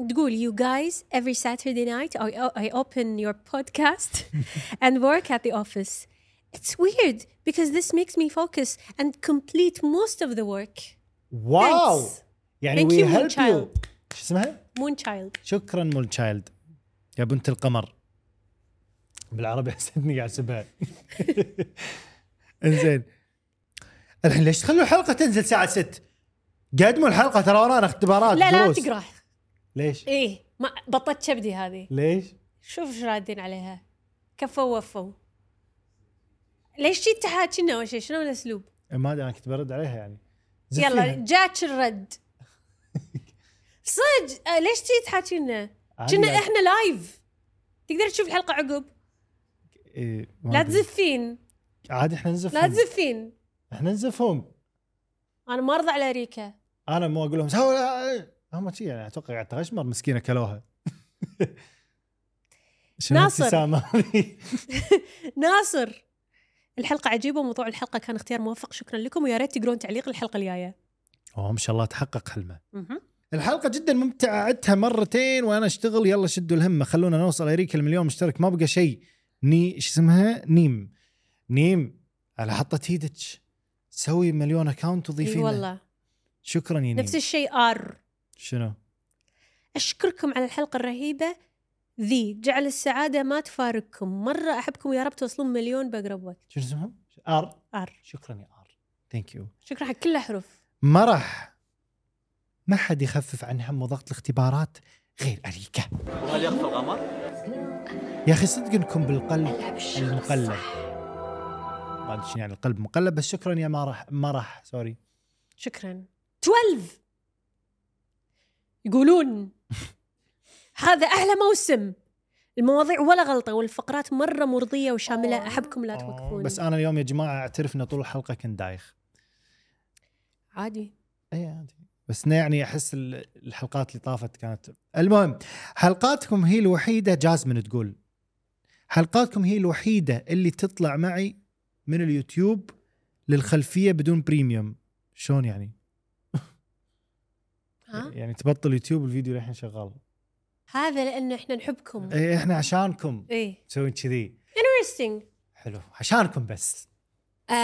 [SPEAKER 2] آه، تقول you guys every Saturday night I, I open your podcast and work at the office. It's weird because this makes me focus and complete most of the work.
[SPEAKER 1] واو
[SPEAKER 2] Thanks.
[SPEAKER 1] يعني
[SPEAKER 2] Thank
[SPEAKER 1] وي
[SPEAKER 2] you, Moon
[SPEAKER 1] هيلب يو
[SPEAKER 2] Child.
[SPEAKER 1] شو اسمها؟
[SPEAKER 2] مون تشايلد
[SPEAKER 1] شكرا مول تشايلد يا بنت القمر بالعربي حسيتني قاعد اسبها انزين الحين ليش تخلوا الحلقه تنزل الساعه 6 قدموا الحلقه ترى ورانا اختبارات
[SPEAKER 2] لا لا
[SPEAKER 1] دروس.
[SPEAKER 2] تقراه
[SPEAKER 1] ليش؟
[SPEAKER 2] ايه ما بطت كبدي هذه
[SPEAKER 1] ليش؟
[SPEAKER 2] شوف ايش رادين عليها كفوا وفوا ليش جيت تحاكينا اول شيء شنو الاسلوب؟
[SPEAKER 1] ما ادري انا كنت برد عليها يعني زين
[SPEAKER 2] يلا
[SPEAKER 1] فيها.
[SPEAKER 2] جاك الرد صدق آه، ليش جيت تحاكينا؟
[SPEAKER 1] عادي
[SPEAKER 2] كنا
[SPEAKER 1] يعني.
[SPEAKER 2] احنا لايف تقدر تشوف الحلقه عقب
[SPEAKER 1] إيه، ما
[SPEAKER 2] لا
[SPEAKER 1] أدري.
[SPEAKER 2] تزفين
[SPEAKER 1] عادي احنا نزفهم
[SPEAKER 2] لا تزفين
[SPEAKER 1] احنا نزفهم
[SPEAKER 2] انا ما ارضى على ريكا
[SPEAKER 1] انا مو اقول لهم سووا لا- هم شي يعني اتوقع قاعد تغشمر مسكينه كلوها شنو
[SPEAKER 2] ناصر.
[SPEAKER 1] الابتسامة هذه؟
[SPEAKER 2] ناصر الحلقه عجيبه وموضوع الحلقه كان اختيار موفق شكرا لكم ويا ريت تقرون تعليق الحلقه الجايه
[SPEAKER 1] اوه ما شاء الله تحقق حلمه
[SPEAKER 2] مهم.
[SPEAKER 1] الحلقة جدا ممتعة عدتها مرتين وانا اشتغل يلا شدوا الهمة خلونا نوصل اريكا المليون مشترك ما بقى شيء ني شو اسمها نيم نيم على حطت ايدك سوي مليون اكونت
[SPEAKER 2] اي
[SPEAKER 1] وضيفي لنا.
[SPEAKER 2] والله
[SPEAKER 1] شكرا يا نيم
[SPEAKER 2] نفس الشيء ار
[SPEAKER 1] شنو؟
[SPEAKER 2] اشكركم على الحلقه الرهيبه ذي جعل السعاده ما تفارقكم مره احبكم ويا رب توصلون مليون باقرب وقت
[SPEAKER 1] شنو اسمهم؟ ار
[SPEAKER 2] ار
[SPEAKER 1] شكرا يا ار ثانك يو
[SPEAKER 2] شكرا حق كل حروف
[SPEAKER 1] ما راح ما حد يخفف عن هم وضغط الاختبارات غير اريكا
[SPEAKER 4] وهل يخفى القمر؟
[SPEAKER 1] يا اخي صدق انكم بالقلب المقلب ما ادري شنو يعني القلب مقلب بس شكرا يا ما راح ما راح سوري
[SPEAKER 2] شكرا 12 يقولون هذا احلى موسم المواضيع ولا غلطه والفقرات مره مرضيه وشامله احبكم لا توقفون
[SPEAKER 1] بس انا اليوم يا جماعه اعترف ان طول الحلقه كنت دايخ
[SPEAKER 2] عادي
[SPEAKER 1] اي إيه، عادي بس إنه يعني احس ال- الحلقات اللي طافت كانت المهم حلقاتكم هي الوحيده جاسمين تقول حلقاتكم هي الوحيده اللي تطلع معي من اليوتيوب للخلفيه بدون بريميوم شلون يعني؟
[SPEAKER 2] ها
[SPEAKER 1] يعني تبطل يوتيوب الفيديو للحين شغال
[SPEAKER 2] هذا لان احنا نحبكم
[SPEAKER 1] إيه، احنا عشانكم
[SPEAKER 2] ايه
[SPEAKER 1] مسوين كذي
[SPEAKER 2] انترستنج
[SPEAKER 1] حلو عشانكم بس
[SPEAKER 2] آه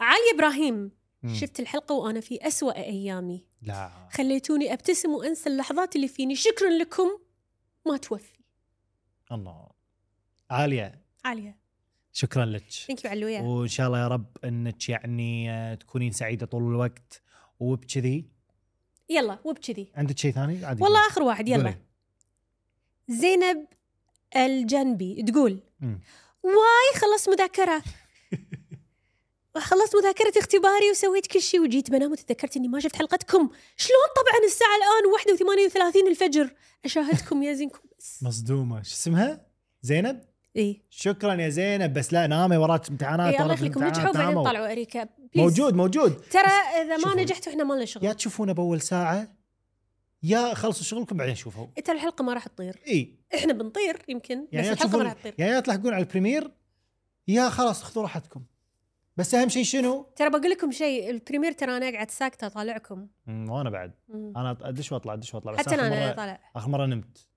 [SPEAKER 2] علي ابراهيم
[SPEAKER 1] مم.
[SPEAKER 2] شفت الحلقه وانا في أسوأ ايامي
[SPEAKER 1] لا
[SPEAKER 2] خليتوني ابتسم وانسى اللحظات اللي فيني شكرا لكم ما توفي
[SPEAKER 1] الله عاليه
[SPEAKER 2] عاليه
[SPEAKER 1] شكرا لك
[SPEAKER 2] ثانك يو علويا
[SPEAKER 1] وان شاء الله يا رب انك يعني آه، تكونين سعيده طول الوقت وبكذي
[SPEAKER 2] يلا وبكذي
[SPEAKER 1] عندك شيء ثاني عادي
[SPEAKER 2] والله اخر واحد
[SPEAKER 1] قولي.
[SPEAKER 2] يلا زينب الجنبي تقول
[SPEAKER 1] مم.
[SPEAKER 2] واي خلصت مذاكرة خلصت مذاكرة اختباري وسويت كل شيء وجيت بنام وتذكرت اني ما شفت حلقتكم شلون طبعا الساعة الان 31 الفجر اشاهدكم يا زينكم إيه. بس
[SPEAKER 1] مصدومه شو اسمها زينب
[SPEAKER 2] اي
[SPEAKER 1] شكرا يا زينب بس لا نامي وراك امتحانات
[SPEAKER 2] اي الله
[SPEAKER 1] وراك
[SPEAKER 2] يخليكم
[SPEAKER 1] امتحانات،
[SPEAKER 2] نجحوا بعدين
[SPEAKER 1] ناموا.
[SPEAKER 2] طلعوا اريكا please.
[SPEAKER 1] موجود موجود
[SPEAKER 2] ترى اذا ما
[SPEAKER 1] شوفوا.
[SPEAKER 2] نجحتوا احنا ما لنا
[SPEAKER 1] يا
[SPEAKER 2] شغل
[SPEAKER 1] تشوفونه باول ساعه يا خلصوا شغلكم بعدين شوفوا
[SPEAKER 2] ترى الحلقة ما راح تطير
[SPEAKER 1] اي
[SPEAKER 2] احنا بنطير يمكن بس
[SPEAKER 1] يعني يا
[SPEAKER 2] الحلقة ما
[SPEAKER 1] تشوفون
[SPEAKER 2] راح تطير
[SPEAKER 1] يعني يا تلحقون على البريمير يا خلاص خذوا راحتكم بس اهم شيء شنو؟
[SPEAKER 2] ترى بقول لكم شيء البريمير ترى انا قاعد ساكتة اطالعكم
[SPEAKER 1] مم، وانا بعد
[SPEAKER 2] مم.
[SPEAKER 1] انا ادش واطلع ادش واطلع بس
[SPEAKER 2] حتى طيب.
[SPEAKER 1] آخر
[SPEAKER 2] انا انا
[SPEAKER 1] مرة-
[SPEAKER 2] طالع
[SPEAKER 1] اخر مره نمت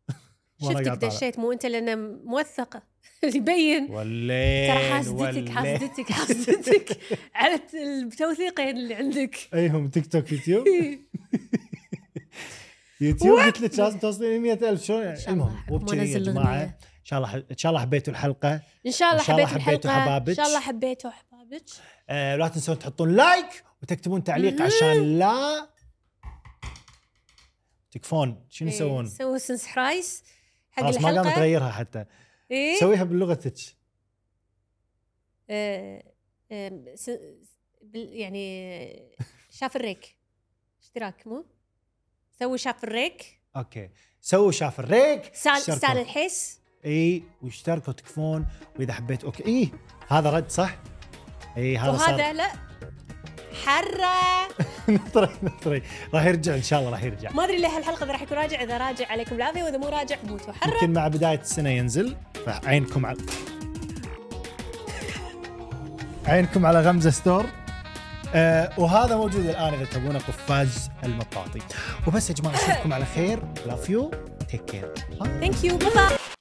[SPEAKER 1] وأنا
[SPEAKER 2] شفتك
[SPEAKER 1] قاعد طالع.
[SPEAKER 2] دشيت مو انت لان موثقة يبين
[SPEAKER 1] والليل
[SPEAKER 2] ترى حاسدتك
[SPEAKER 1] والليل.
[SPEAKER 2] حاسدتك حاسدتك على التوثيقين اللي عندك
[SPEAKER 1] ايهم تيك توك يوتيوب
[SPEAKER 2] إيه.
[SPEAKER 1] يوتيوب قلت لك لازم توصلين 100000 شلون
[SPEAKER 2] إن
[SPEAKER 1] يعني
[SPEAKER 2] شاء الله
[SPEAKER 1] المهم
[SPEAKER 2] عقب ما
[SPEAKER 1] وبكذي يا
[SPEAKER 2] نزل
[SPEAKER 1] جماعه
[SPEAKER 2] الأغنية.
[SPEAKER 1] ان شاء الله ان شاء الله حبيتوا الحلقه
[SPEAKER 2] ان شاء الله
[SPEAKER 1] إن شاء الله
[SPEAKER 2] حبيتوا
[SPEAKER 1] حبيتوا
[SPEAKER 2] الحلقه ان
[SPEAKER 1] حبابتش.
[SPEAKER 2] شاء الله حبيتوا حبابك
[SPEAKER 1] آه لا تنسون تحطون لايك وتكتبون تعليق عشان لا تكفون شنو تسوون؟
[SPEAKER 2] سووا سنس حرايس إيه. حق إيه.
[SPEAKER 1] خلاص ما قامت
[SPEAKER 2] الحلقه
[SPEAKER 1] تغيرها حتى
[SPEAKER 2] إيه؟
[SPEAKER 1] سويها بلغتك
[SPEAKER 2] آه، آم، س- س- بال- يعني شاف الريك اشتراك مو سوي شاف الريك
[SPEAKER 1] اوكي سووا شاف الريك
[SPEAKER 2] سال
[SPEAKER 1] اشتركوا.
[SPEAKER 2] سال الحس
[SPEAKER 1] اي واشتركوا تكفون واذا حبيت اوكي اي هذا رد صح؟ اي هذا
[SPEAKER 2] وهذا
[SPEAKER 1] صار
[SPEAKER 2] لا حرة
[SPEAKER 1] نطري نطري راح يرجع ان شاء الله راح يرجع
[SPEAKER 2] ما ادري لهالحلقه اذا راح يكون راجع اذا راجع عليكم العافيه واذا مو راجع موتوا حرة
[SPEAKER 1] يمكن مع بدايه السنه ينزل فعينكم على عينكم على غمزه ستور آه وهذا موجود الان اذا تبونه قفاز المطاطي وبس يا جماعه اشوفكم على خير لاف يو تيك كير
[SPEAKER 2] ثانك يو باي باي